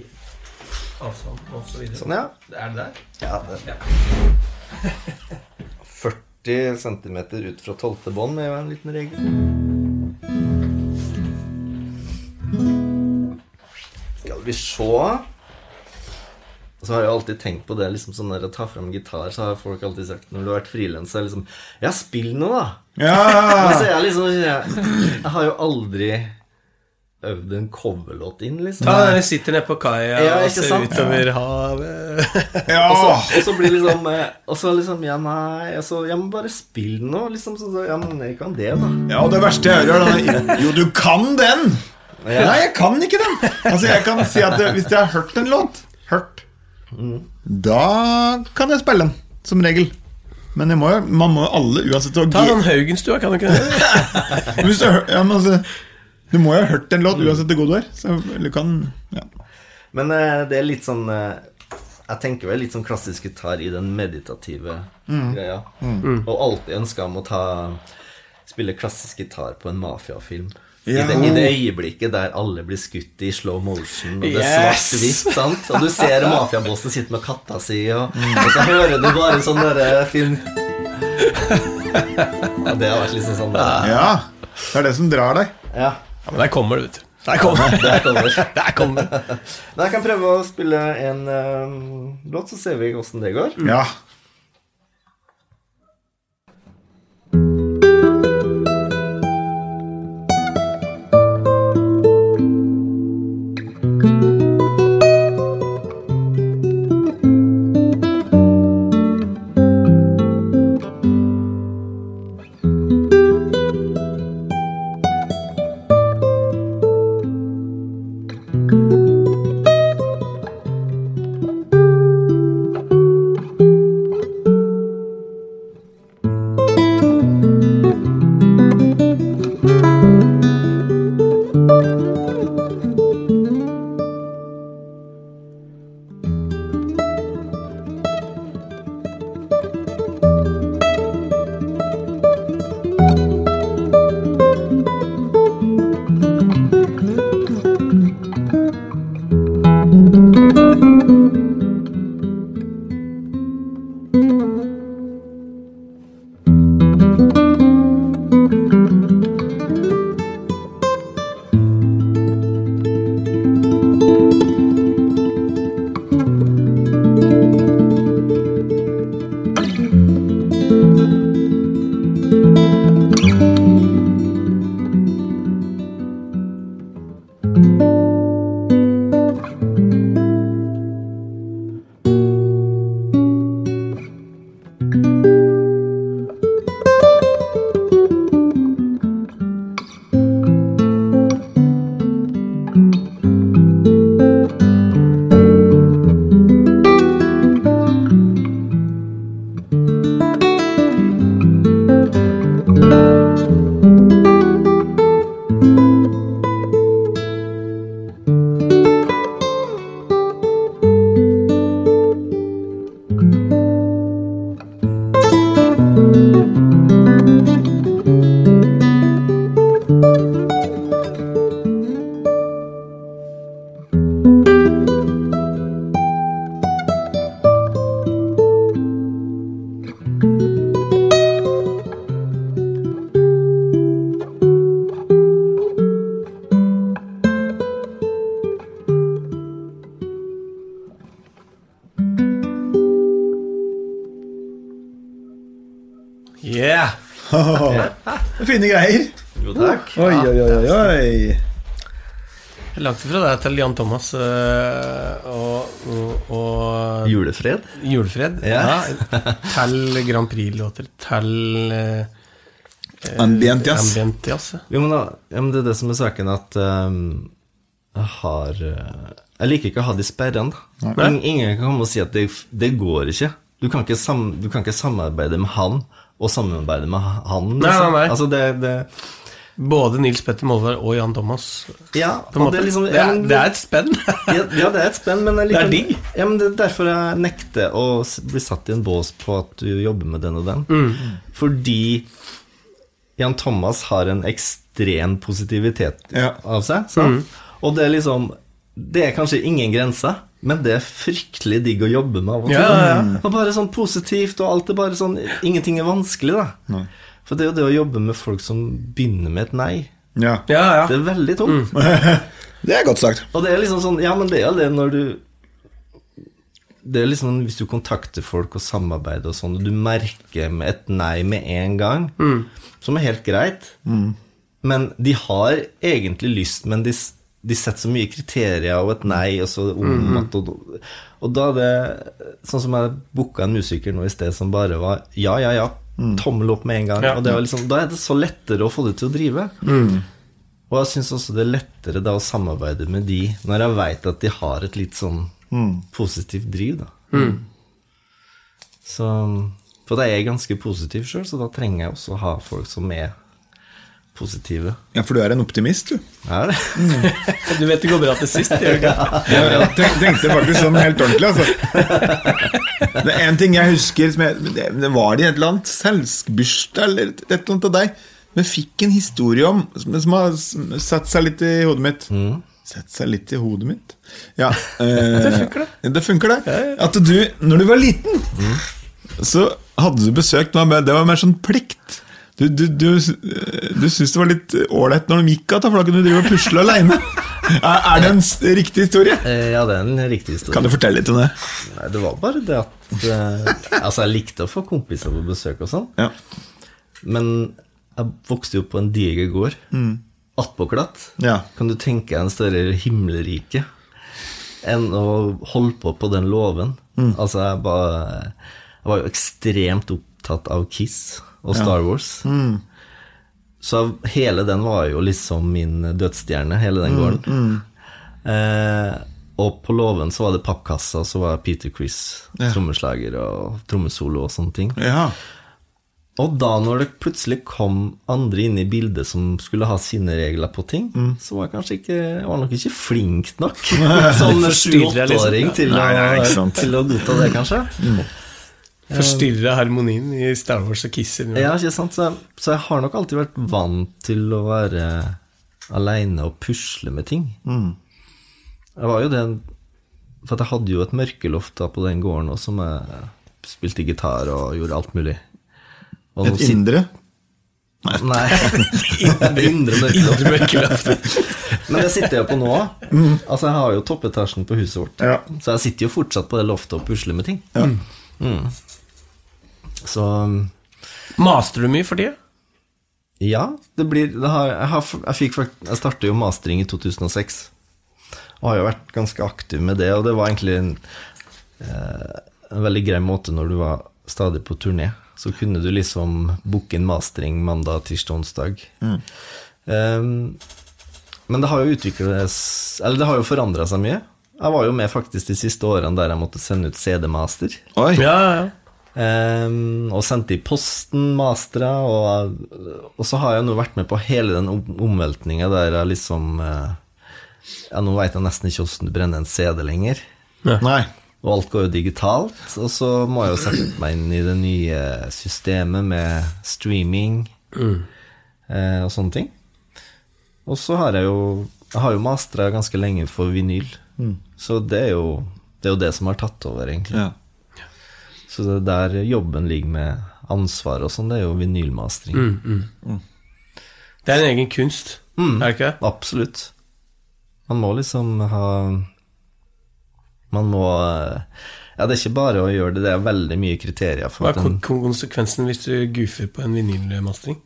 avstand og så videre. Sånn, ja. Er det der? ja det. 40 cm ut fra tolvte bånd er jo en liten regel. Skal vi se Så har jeg alltid tenkt på det liksom sånn når jeg tar fram gitar, så har folk alltid sagt når du har vært frilanser liksom, Ja, spill nå, da! Men Ja. så er jeg liksom jeg, jeg har jo aldri øvd en coverlåt inn, liksom. Ja, dere sitter nede på kaia Ja, og ikke ser sant? utover havet. Og så, ja. og så blir det liksom eh, Og så liksom Ja, nei altså, Jeg må bare spille nå, liksom. Så, så, ja, men jeg kan det, da. Ja, og det verste jeg hører, er da Jo, du kan den! Nei, jeg kan ikke den! Altså, jeg kan si at det, Hvis jeg har hørt en låt Hørt Da kan jeg spille den, som regel. Men jeg må jo, man må jo alle uansett å Ta gi- den Haugenstua, kan du ikke det? hvis du, har hørt- ja, men altså, du må jo ha hørt en låt uansett hvor god du er. Så du kan ja. Men eh, det er litt sånn eh, Jeg tenker vel litt sånn klassisk gitar i den meditative Mm. greia. Og alltid ønska om å ta Spille klassisk gitar på en mafiafilm. I, Ja. det, I det øyeblikket der alle blir skutt i slow motion, og det er Yes! svart-hvitt, sant? Og du ser mafiabossen sitte med katta si, og, Mm. og så hører du bare sånn derre fin ja, Det har vært liksom sånn der. ja. Det er det som drar deg. Ja. Ja, men der kommer det, vet du. Der kommer det. Der kommer det. Der kommer det. Men jeg kan prøve å spille en eh, låt, så ser vi åssen det går. Ja. Yeah! Fine greier. Jo, takk. Oi, oi, oi, oi. Langt ifra deg til Jan Thomas eh, og, og, og Julefred. Julefred. Ja. Ja, Til Grand Prix-låter. Til eh, Ambient jazz. ambient jazz. ja. Jo, men, da, ja, men det er det som er saken, at ehm, jeg har eh, Jeg liker ikke å ha de sperrene. da. Nei. Ing- Ingen kan komme og si at det, det går ikke. Du kan ikke, sam, du kan ikke samarbeide med han og samarbeide med han. Nei, liksom. nei, nei. Altså, det, det, Både Nils Petter Molvær og Jan Thomas. ja, På og en måte. det er liksom det, ja, er, men- det er et spenn. ja, ja, det er et spenn, men jeg Det er liker, digg. Ja, men det er derfor jeg nekter å s- bli satt i en bås på at du jobber med den og den. Mm. Fordi Jan Thomas har en ekstrem positivitet Ja. av seg. Mm. sant? Og det er liksom Det er kanskje ingen grenser, men det er fryktelig digg å jobbe med av og til. Ja, ja, Og bare sånn positivt, og alt er bare sånn Ingenting er vanskelig, da. For det er jo det å jobbe med folk som begynner med et nei. Ja. (laughs) ja, ja. Mm. Det er veldig tungt. Det er godt sagt. Og det er liksom sånn Ja, men det er jo det når du Det er liksom hvis du kontakter folk og samarbeider og sånn, og du merker med et nei med en gang, som er helt greit, men de har egentlig lyst, men de, s- de setter så mye kriterier og et nei, og så om at og, og da er det Sånn som jeg booka en musiker nå i sted som bare var ja, ja, ja. Tommel opp med en gang. Ja. Og det var liksom, da er det så lettere å få det til å drive. Og jeg syns også det er lettere da å samarbeide med de når jeg veit at de har et litt sånn positivt driv, da. Så For jeg er ganske positiv sjøl, så da trenger jeg også å ha folk som er positive. Ja, for du er en optimist, du. Er det? Du vet det går bra til sist. gjør det ikke? Jeg tenk- tenkte faktisk sånn helt ordentlig, altså. Det er en ting jeg husker som jeg, det, det var i et eller annet selskbursdag eller et eller annet av deg. Men jeg fikk en historie om som, som har s- satt seg litt i hodet mitt. Sett seg litt i hodet mitt? Ja. det funker, det. Det funker det. At du, når du var liten, så hadde du besøkt meg med Det var mer sånn plikt. Du, du, du, du syntes det var litt ålreit når de gikk av, for da kunne du drive og pusle aleine. Er, er det en s- riktig historie? Eh, Ja, det er en riktig Kan historie. du fortelle litt om det? Nei, det var bare det at eh, Altså, jeg likte å få kompiser på besøk og sånn, Ja. men jeg vokste jo opp på en diger gård. Attpåklatt. Ja. Kan du tenke deg en større himmelrike enn å holde på på den låven? Altså, jeg, bare, jeg var jo ekstremt opptatt av Kiss og Star Wars. Så hele den var jo liksom min dødsstjerne, hele den gården. Eh, og på låven så var det pappkassa, og så var Peter Chris trommeslager og trommesolo og sånne ting. ja. Og da når det plutselig kom andre inn i bildet som skulle ha sine regler på ting, Mm. så var jeg kanskje ikke, jeg var nok ikke flink (laughs) nok (laughs) som forstyrrer, liksom. 28-åring til, Nei, nei, ikke å- sant. Mm. til å godta det, kanskje. Forstyrra harmonien i Star Wars og Kiss. innimellom. Ja, ikke sant? Så jeg, så jeg har nok alltid vært vant til å være aleine og pusle med ting. Mm. Jeg var jo det For at jeg hadde jo et mørkeloft da på den gården også, som jeg spilte gitar og gjorde alt mulig. Og nå Et sit- indre? (laughs) Nei. Indre, indre mørkeloft. Indre mørkeløft. Men det sitter jeg på nå òg. Altså, jeg har jo toppetasjen på huset vårt. Ja. Så jeg sitter jo fortsatt på det loftet og pusler med ting. um, Ja. Så Master du mye for tida? Ja, det blir det har, jeg, har, jeg, fikk, fakt- jeg startet jo mastering i 2006 Og har jo vært ganske aktiv med det Og det var egentlig en, eh, en veldig grei måte når du var stadig på turné Så kunne du liksom boke en mastering mandag, tirsdag, onsdag Ehm, Men det har jo utviklet Eller det har jo forandret seg mye Jeg var jo med faktisk de siste årene der jeg måtte sende ut CD-master Oi. Ja, ja, ja. Ehm, og sendte i posten mastere, og, og så har jeg nå vært med på hele den om- omveltninga der jeg liksom eh, Ja, nå veit jeg nesten ikke åssen du brenner en CD lenger. Nei. Og alt går jo digitalt. Og så må jeg jo sette meg inn i det nye systemet med streaming eh, og sånne ting. Og så har jeg jo Jeg har jo mastra ganske lenge for vinyl, så det er, jo, det er jo det som har tatt over, egentlig. Ja. Så det er der jobben ligger med ansvar og sånn, det er jo vinylmastering. Det er en egen kunst, er det ikke det? Absolutt. Man må liksom ha Man må Ja, det er ikke bare å gjøre det, det er veldig mye kriterier for Hva at er kon en konsekvensen hvis du goofer på en vinylmastering?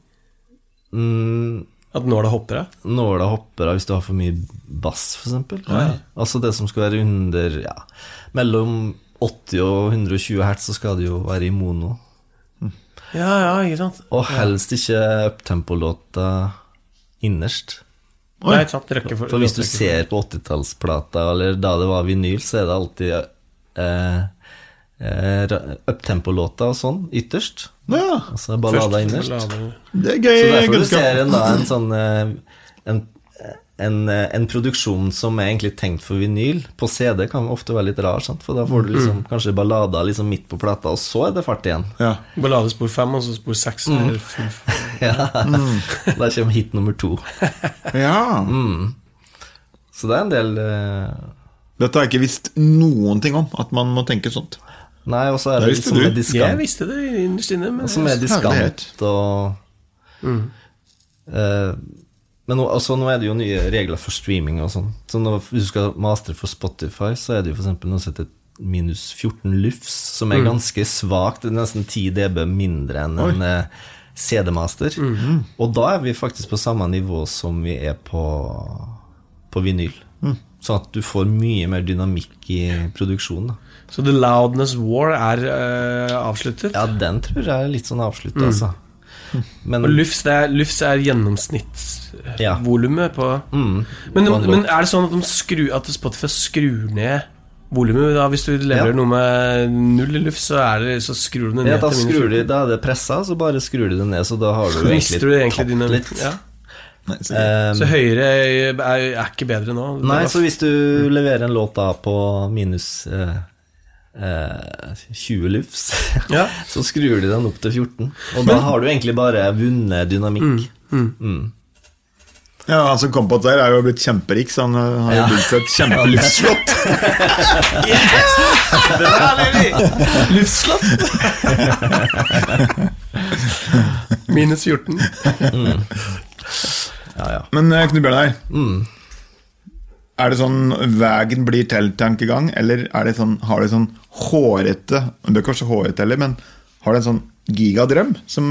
mm, At nåla hopper av? nåla hopper av hvis du har for mye bass, f.eks. Altså det som skal være under ja, Mellom 80 og 120 hertz, så skal det jo være i mono. Ja, ja, ikke sant? Og helst ikke uptempo-låta innerst. Nei, ikke sant? Røkke For hvis du ser på 80-tallsplata, eller da det var vinyl, så er det alltid eh, eh, ra- uptempo-låta og sånn ytterst. ja. Altså ballada innerst. Det Så er gøy derfor du ser kunnskap. en, da, en sånn eh, en, en, eh, en produksjon som er egentlig tenkt for vinyl, på CD kan ofte være litt rar, sant? for da får du Mm. liksom, kanskje ballader liksom midt på plata, og så er det fart igjen. (laughs) Ja. Ballade spor fem, og så spor seks. Mm. eller full- Ja. Mm. Da kommer hit nummer to. ja. Mm. Så det er en del eh, Dette har jeg ikke visst noen ting om, at man må tenke sånt. Nei, og så er Det det visste liksom du. med Jeg diskant visste det innerst inne, men Og så med diskant Herlighet. og Eh, Men nå, altså, nå er det jo nye regler for streaming og sånn. Så når hvis du skal mastre for Spotify, så er det jo f.eks. noe som heter minus 14 lufs, som er ganske svakt. Det er nesten 10 dB mindre enn en eh, CD-master. Og da er vi faktisk på samme nivå som vi er på, på vinyl. Sånn at du får mye mer dynamikk i produksjonen. Da. Så The Loudness War er eh, avsluttet. Ja, den tror jeg er litt sånn avslutta, altså. Men Og Lufs, det er, Lufs er gjennomsnittsvolumet Ja. på mm, men, på en men låt. er det sånn at, de skru, at Spotify skrur ned volumet? Da, hvis du leverer Ja. noe med null lufs, så, er det, så skrur de det ned ja, da, til minus skrur 14. de, da er det pressa, så bare skrur de det ned, så da har du Så mister du egentlig tapt litt. dynamikken. Ja. Nei, så gøy. Eh, Så høyere er, er ikke bedre nå. Det nei, var- så hvis du leverer en låt da på minus eh, eh, 20 lufs, ja. (laughs) så skrur de den opp til 14. Og da har du egentlig bare vunnet dynamikk. Ja, Han som kom på det der, er jo blitt kjemperik, så han eh, har jo (laughs) bygd seg et kjempelivsslott. Luftslott! Minus 14. Ja, ja. Men eh, Knut Bjørnar, er det sånn vegen blir til-tankegang, eller er det sånn, har du sånn hårete Det er kanskje hårete heller, men har du en sånn gigadrøm som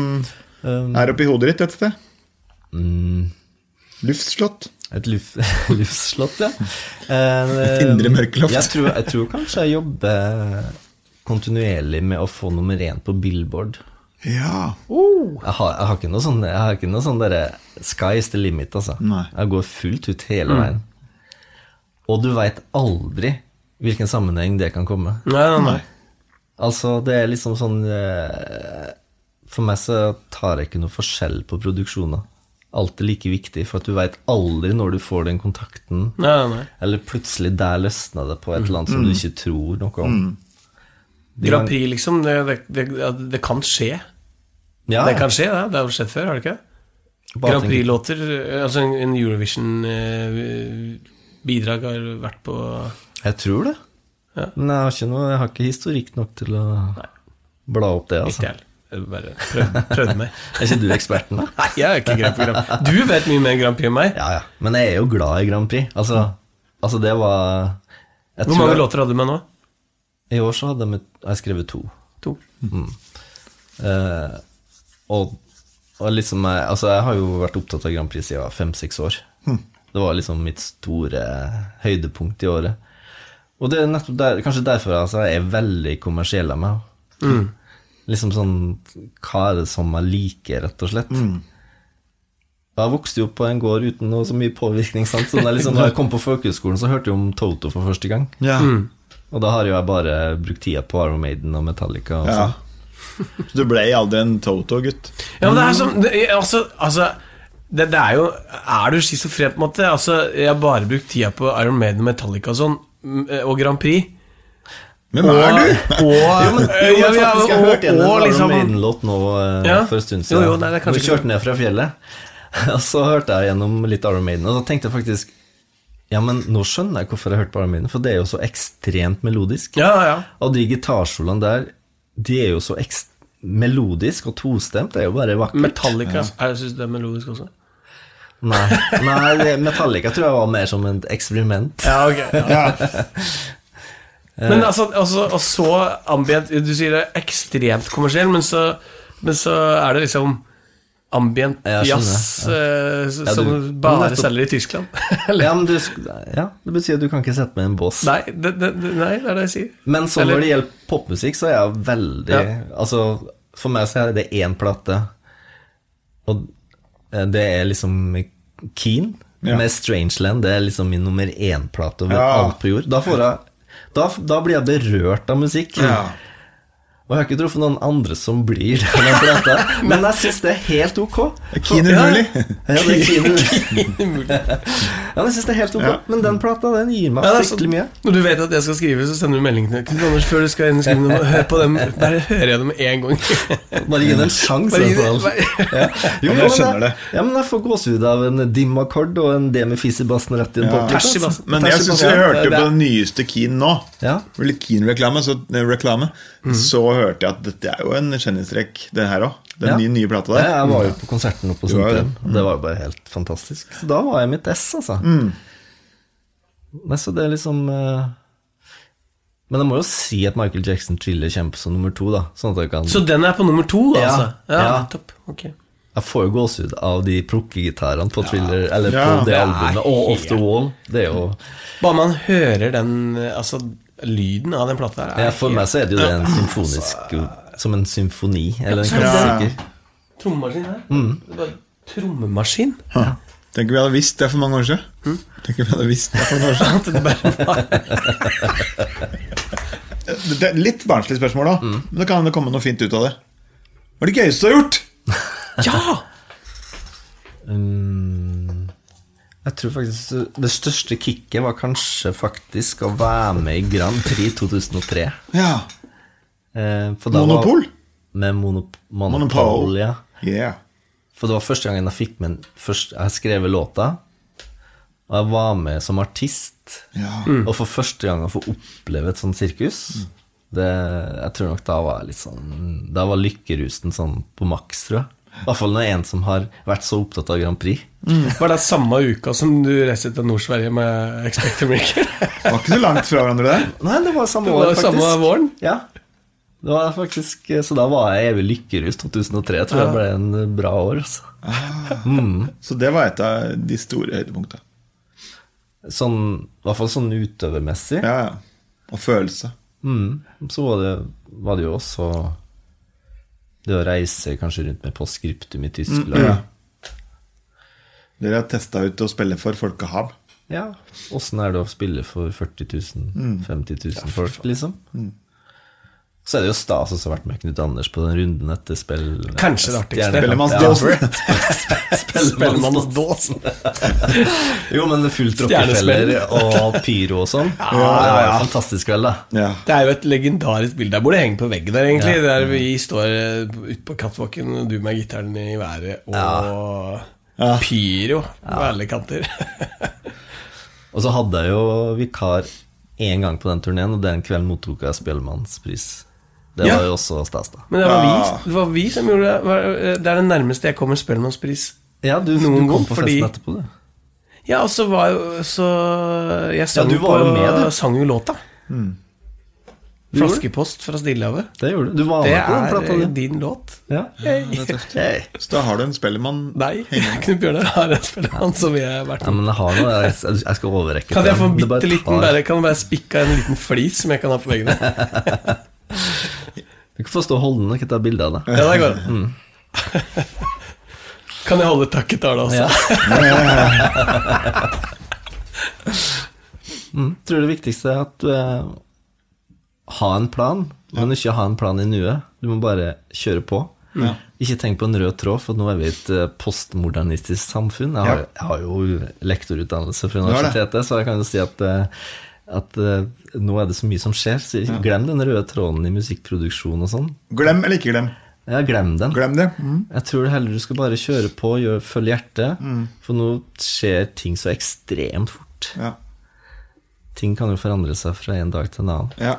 Um, er oppi hodet ditt et sted? Mm. Luftslott. Et (laughs) luft, luftslott, ja. Eh, Et indre mørkeloft. Jeg tror, jeg tror kanskje jeg jobber kontinuerlig med å få nummer én på Billboard. Ja. Jeg har, jeg har ikke noe sånn, jeg har ikke noe sånn derre Sky is the limit, altså. Nei. Jeg går fullt ut Mm. hele veien. Og du veit aldri hvilken sammenheng det kan komme. Nei, nei, nei. Altså, det er liksom sånn eh, For meg så tar jeg ikke noe forskjell på produksjoner. Alt er like viktig, for at du veit aldri når du får den kontakten. nei, nei, nei. Eller plutselig der løsna det på et eller annet som du ikke tror noe om. De Mm. Grand kan- Prix, liksom. Det, det, det, det kan skje. Ja, Det kan skje, det. Det har jo skjedd før, har det ikke? bare Grand tenker- Prix-låter Altså, en, en Eurovision-bidrag har vært på Jeg tror det. Ja. Men jeg har, ikke noe, jeg har ikke historikk nok til å bla opp det, altså. Ikke jeg. Jeg Bare prøvde, prøvde meg. Er ikke du eksperten, da? Nei, jeg er ikke grei på Grand Prix. Du vet mye mer Grand Prix enn meg. Ja, ja. Men jeg er jo glad i Grand Prix. Altså, altså det var jeg Hvor tror mange jeg- låter hadde du med nå? I år så hadde jeg, med, jeg skrevet to. To. Eh, og, Og liksom, jeg, altså, jeg har jo vært opptatt av Grand Prix siden jeg var fem-seks år. Det var liksom mitt store høydepunkt i året. Og det er nettopp der, kanskje derfor altså, jeg er veldig kommersiell av meg. Liksom sånn Hva er det som jeg liker, rett og slett? Jeg vokste jo opp på en gård uten noe så mye påvirkning. Sant? Så da jeg, liksom, da jeg kom på folkehøgskolen, så hørte jeg om Toto for første gang. Ja. Og da har jo jeg bare brukt tida på Iron Maiden og Metallica. Og ja. (laughs) sånn. Så du ble aldri en Toto-gutt? Ja, men det er som det, Altså, altså det, det er jo Er du schizofren på en måte? Altså, jeg har bare brukt tida på Iron Maiden, Metallica og sånn, mm, og Grand Prix. Hvem er du? Og, Jo, Ja, men ja, faktisk, jeg og- hørte igjen en og Iron liksom- Maiden-låt nå eh, Ja. for en stund Jo, siden. jo, nei, det er Hvor kanskje vi ikke- kjørte ned fra fjellet. (laughs) Og så hørte jeg gjennom litt Iron Maiden, og da tenkte jeg faktisk Ja, men nå skjønner jeg hvorfor jeg hørte på Iron Maiden, for det er jo så ekstremt melodisk. Ja, ja. Og de gitarsoloene der, de er jo så ekst melodisk og tostemt. Det er jo bare vakkert. Metallica. Ja. Jeg syns det er melodisk også. Nei, nei det- Metallica tror jeg var mer som et eksperiment. Ja, ok Eh. Men altså, altså og så ambient Du sier det er ekstremt kommersiell, men så, men så er det liksom ambient Ja, jeg skjønner, jazz eh, s- Ja, som du- bare nettopp. selger i Tyskland. (laughs) Eller- Ja, men du, ja, det betyr at du kan ikke sette meg i en bås. nei, det, det, det- nei, det er det jeg sier. Men så Eller- når det gjelder popmusikk, så er jeg veldig Ja. Altså, for meg så er det én plate, og eh, det er liksom Keen Ja. med Strangeland. Det er liksom min nummer én-plate over Ja. alt på jord. Da, får jeg, da, da blir jeg berørt av musikk. Ja. Og jeg har ikke truffet noen andre som blir det av den plata, men jeg syns det er helt ok. Keen Ja. umulig. Ja, det er Keen umulig. (laughs) Ja, men jeg syns det er helt ok, Ja. men den plata, den gir meg Ja, det er fryktelig mye. sånn- Når du vet at jeg skal skrive, så sender du melding til Knut Anders før du skal inn og skrive noe. Hør på dem. Der hører jeg dem med en (laughs) gang. Bare gi det en sjanse. Bare gi det- altså. bare- Ja. (laughs) Jo, men jeg men skjønner det. Ja, men jeg får gåsehud av en dim-akkord og en demifis i bassen rett i en Ja. poptitt, Ters i altså. bassen. Men Ters i jeg syns bassen. jeg hørte Det- på det- den nyeste Keen nå. Ja. Det var Litt Keen-reklame, så, reklame. så hørte jeg at dette er jo en kjendistrek, det her òg. Den Ja. nye, nye plata Ja, der. Jeg var jo på konserten oppe på var det. Sundtøyen. og Det var jo bare helt fantastisk. Så da var jeg i mitt ess, altså. Mm. Nei, så det er liksom eh, Men jeg må jo si at Michael Jackson Thriller kommer på som nummer to, da. Sånn at jeg kan Så den er på nummer to, Ja, altså? ja. topp. Ok. Jeg får jo gåsehud av de plukkegitarene på Thriller, eller på Ja, det det er albumet, og Off The Wall. Det er jo Bare man hører den Altså, lyden av den plata her er ja, For meg så er det jo det en symfonisk Som en symfoni, eller en så er det- klassiker. Trommemaskin her. Mm. Det er bare trommemaskin. Huh. Tenker vi hadde visst det for mange år siden. Tenker vi hadde visst det for mange år siden. At det bare var (laughs) Det- det er Litt barnslig spørsmål òg, men det kan det komme noe fint ut av det. Hva er det gøyeste du har gjort? Ja! Mm, jeg tror faktisk det største kicket var kanskje faktisk å være med i Grand Prix 2003. Ja. Eh, for da var- Monopol? Med monop monopol, Monopol. ja. Yeah. For det var første gangen jeg fikk med en- først, Jeg skrev låta, og jeg var med som artist. Ja. Og for første gang å få oppleve et sånt sirkus det, Jeg tror nok da var jeg litt sånn Da var lykkerusen sånn på maks, tror jeg. I hvert fall når en som har vært så opptatt av Grand Prix. Var det samme uka som du reiste til Nord-Sverige med Expect American? Det var ikke så langt fra hverandre, det. Nei, det var samme Det år, var faktisk. samme våren? Ja. Det var faktisk, så da var jeg evig lykkerus 2003. Jeg tror det ble en bra år. Altså. Så det var et av de store høydepunktene. Sånn, I hvert fall sånn utøvermessig. Ja, ja. Og følelse. Mm. Så var det, var det jo også det å reise kanskje rundt med postskriptum i Tyskland. Ja. Dere har testa ut å spille for Folkehav. Ja, Mm. Åssen er det å spille for 40 000, 50 000 folk, liksom? Så er det jo stas også å ha vært med Knut Anders på den runden etter spill... Kanskje det artigste. (laughs) Spellemannsdåsen. Spellemannsdåsen. jo, men det er fullt rockefeller og pyro og sånn. (laughs) Ja, Det var en fantastisk kveld, da. Ja. Det er jo et legendarisk bilde. Der burde henge på veggen der, egentlig. Mm. Der vi står ute på catwalken, og du med gitaren i været, og Ja. pyro på alle kanter. (laughs) Og så hadde jeg jo vikar én gang på den turneen, og den kvelden mottok jeg Spellemannspris. Det Ja. var jo også stas, da. Men det var, Ja. vi, det var vi som gjorde det. Det er det nærmeste jeg kommer Spellemannspris. Ja, du, du Noen kom gang, på fordi- festen etterpå, du. Ja, og så var jo så Jeg sang du Mm. var jo på- med, du. sang jo låta. Flaskepost fra Stillehavet. Det gjorde du. Du var Det med på den er plata, eh, du. din låt. Ja. Det er tøft. Hey. Så da har du en spellemann (laughs) Nei, Knut Bjørnar har en spellemann som jeg har vært Nei, men jeg har noe. Jeg, jeg skal overrekke. Kan jeg få en Det bare bitte liten tar- bare, Kan jeg bare spikke av en liten flis som jeg kan ha på veggene? (laughs) Du kan få stå holdende og ta bilde av det. Ja, der går det. Mm. (laughs) Kan jeg holde takketale også? Ja. (laughs) mm. Tror det viktigste er at du eh, har en plan, men ikke ha en plan i nuet. Du må bare kjøre på. Ja. Ikke tenk på en rød tråd, for nå er vi et eh, postmodernistisk samfunn. Jeg har, Ja. jeg har jo lektorutdannelse fra har det. universitetet, så jeg kan jo si at, eh, at eh, nå er det så mye som skjer. Så glem den røde tråden i musikkproduksjon og sånn. Glem eller ikke glem. Ja, glem den. Glem det. Mm. Jeg tror heller du skal bare kjøre på, gjør, følge hjertet. For nå skjer ting så ekstremt fort. Ja. Ting kan jo forandre seg fra en dag til en annen. ja.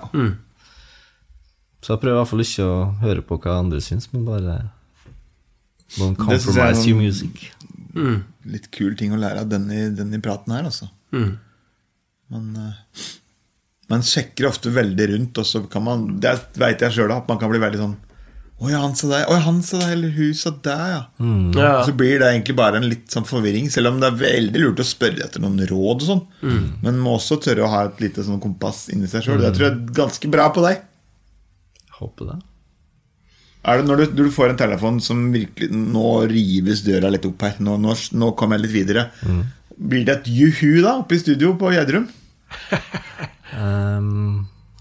Så jeg prøver i hvert fall ikke å høre på hva andre syns, men bare Don't Det synes jeg er compromise your noen- music. Litt kul ting å lære av denne, denne praten her, altså. Man, eh, man sjekker ofte veldig rundt, og så kan man Det veit jeg sjøl, at man kan bli veldig sånn Å ja, han sa deg. Å ja, han sa deg. Eller hun sa deg, ja. Ja. Og så blir det egentlig bare en litt sånn forvirring, selv om det er veldig lurt å spørre etter noen råd og sånn. Men må også tørre å ha et lite sånn kompass inni seg sjøl. Det tror jeg er ganske bra på deg. Håper det. Er det når du, når du får en telefon som virkelig Nå rives døra litt opp her. Nå, nå, nå kom jeg litt videre. Mm. Blir det et juhu da, oppe i studio på Gjedrum? Ehm,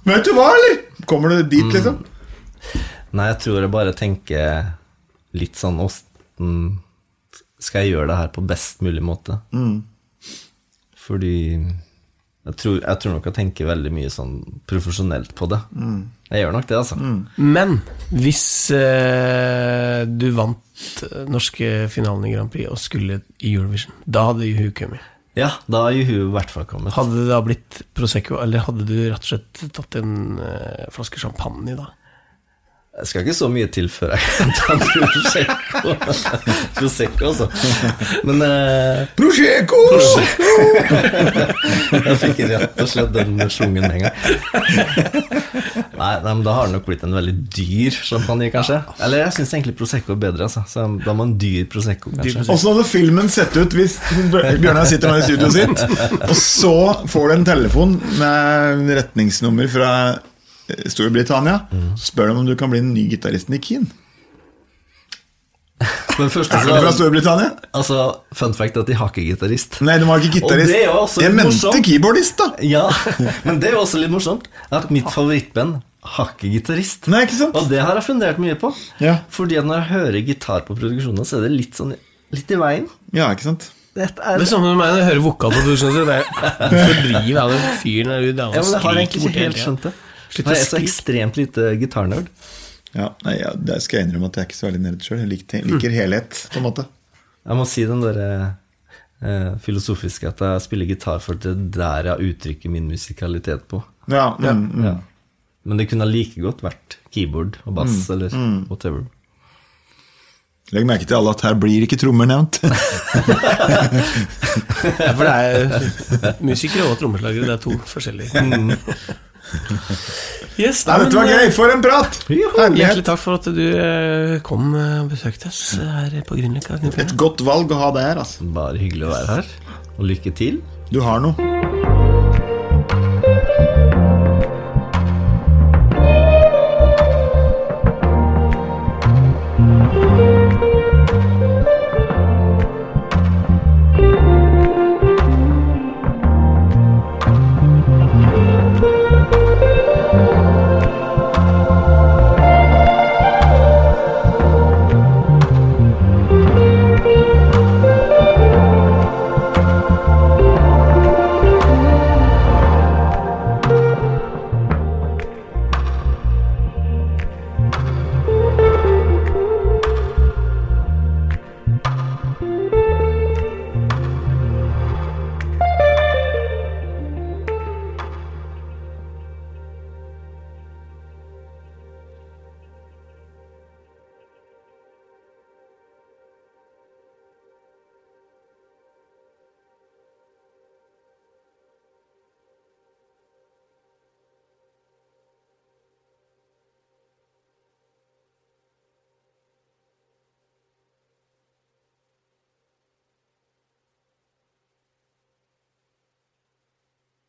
Vet du hva, eller? Kommer du Mm. dit, liksom? nei, jeg tror jeg bare tenker litt sånn Åssen skal jeg gjøre det her på best mulig måte? Fordi jeg tror, jeg tror nok jeg tenker veldig mye sånn profesjonelt på det. Jeg gjør nok det, altså. Men hvis eh, du vant eh, norske finalen i Grand Prix og skulle i Eurovision, da hadde Juhu kommet. Ja, da er Juhu i hvert fall kommet. Hadde det da blitt Prosecco, eller hadde du rett og slett tatt en eh, flaske champagne da? Jeg skal ikke så mye til før jeg kan ta en Prosecco. (laughs) Prosecco, altså. Men eh, Prosjeko! jeg fikk rett og slett den sjungen med en gang. Nei, nei, men da har det nok blitt en veldig dyr champagne, kanskje. Eller jeg syns egentlig Prosecco er bedre, altså. Så da må en dyr Prosecco, Dyr kanskje. Prosecco. Åssen hadde filmen sett ut hvis Bjørnar sitter nå i studioet sitt, (laughs) og så får du en telefon med retningsnummer fra eh, Storbritannia? Mm. Så spør de om du kan bli den nye gitaristen i Keen. Men først, Er du fra altså, Storbritannia? altså, fun fact at de har ikke gitarist. Nei, de var ikke Og gitarist. det er jo også Jeg litt mente morsomt. keyboardist, da. Ja, men det er jo også litt morsomt at mitt favorittband har ikke gitarist. Nei, ikke sant? Og det har jeg fundert mye på. Ja. Fordi at når jeg hører gitar på produksjonen, så er det litt sånn Litt i veien. Ja, ikke sant? Dette Det er er samme med meg når jeg hører vokal på produksjonen. så det er- (laughs) Hvorfor driver jeg den fyren der ute? ja, Han men Jeg har egentlig skriker ikke borti hele helt tida. skjønt det. Slutt å Nei, jeg er så skrike. ekstremt lite gitarnerd. Ja, nei, ja, Det skal jeg innrømme at jeg er ikke så veldig nerd sjøl. Jeg liker, liker helhet, på en måte. Jeg må si den derre eh, filosofiske at jeg spiller gitar for at det er der jeg uttrykker min musikalitet på. Ja, mm, mm. Ja. Men det kunne like godt vært keyboard og bass eller whatever. Legg merke til alle at her blir ikke trommer nevnt. Ja, for det er musikere og trommeslagere, det er to forskjellige. (laughs) Yes, Nei, (laughs) Dette var men, eh, gøy! For en prat! Hjertelig Herlighet. takk for at du eh, kom eh, og besøkte oss eh, her på Grünerløkka. Knut Bjørnar. Et godt valg å ha det her, altså. Bare hyggelig å være her, og lykke til. Du har noe.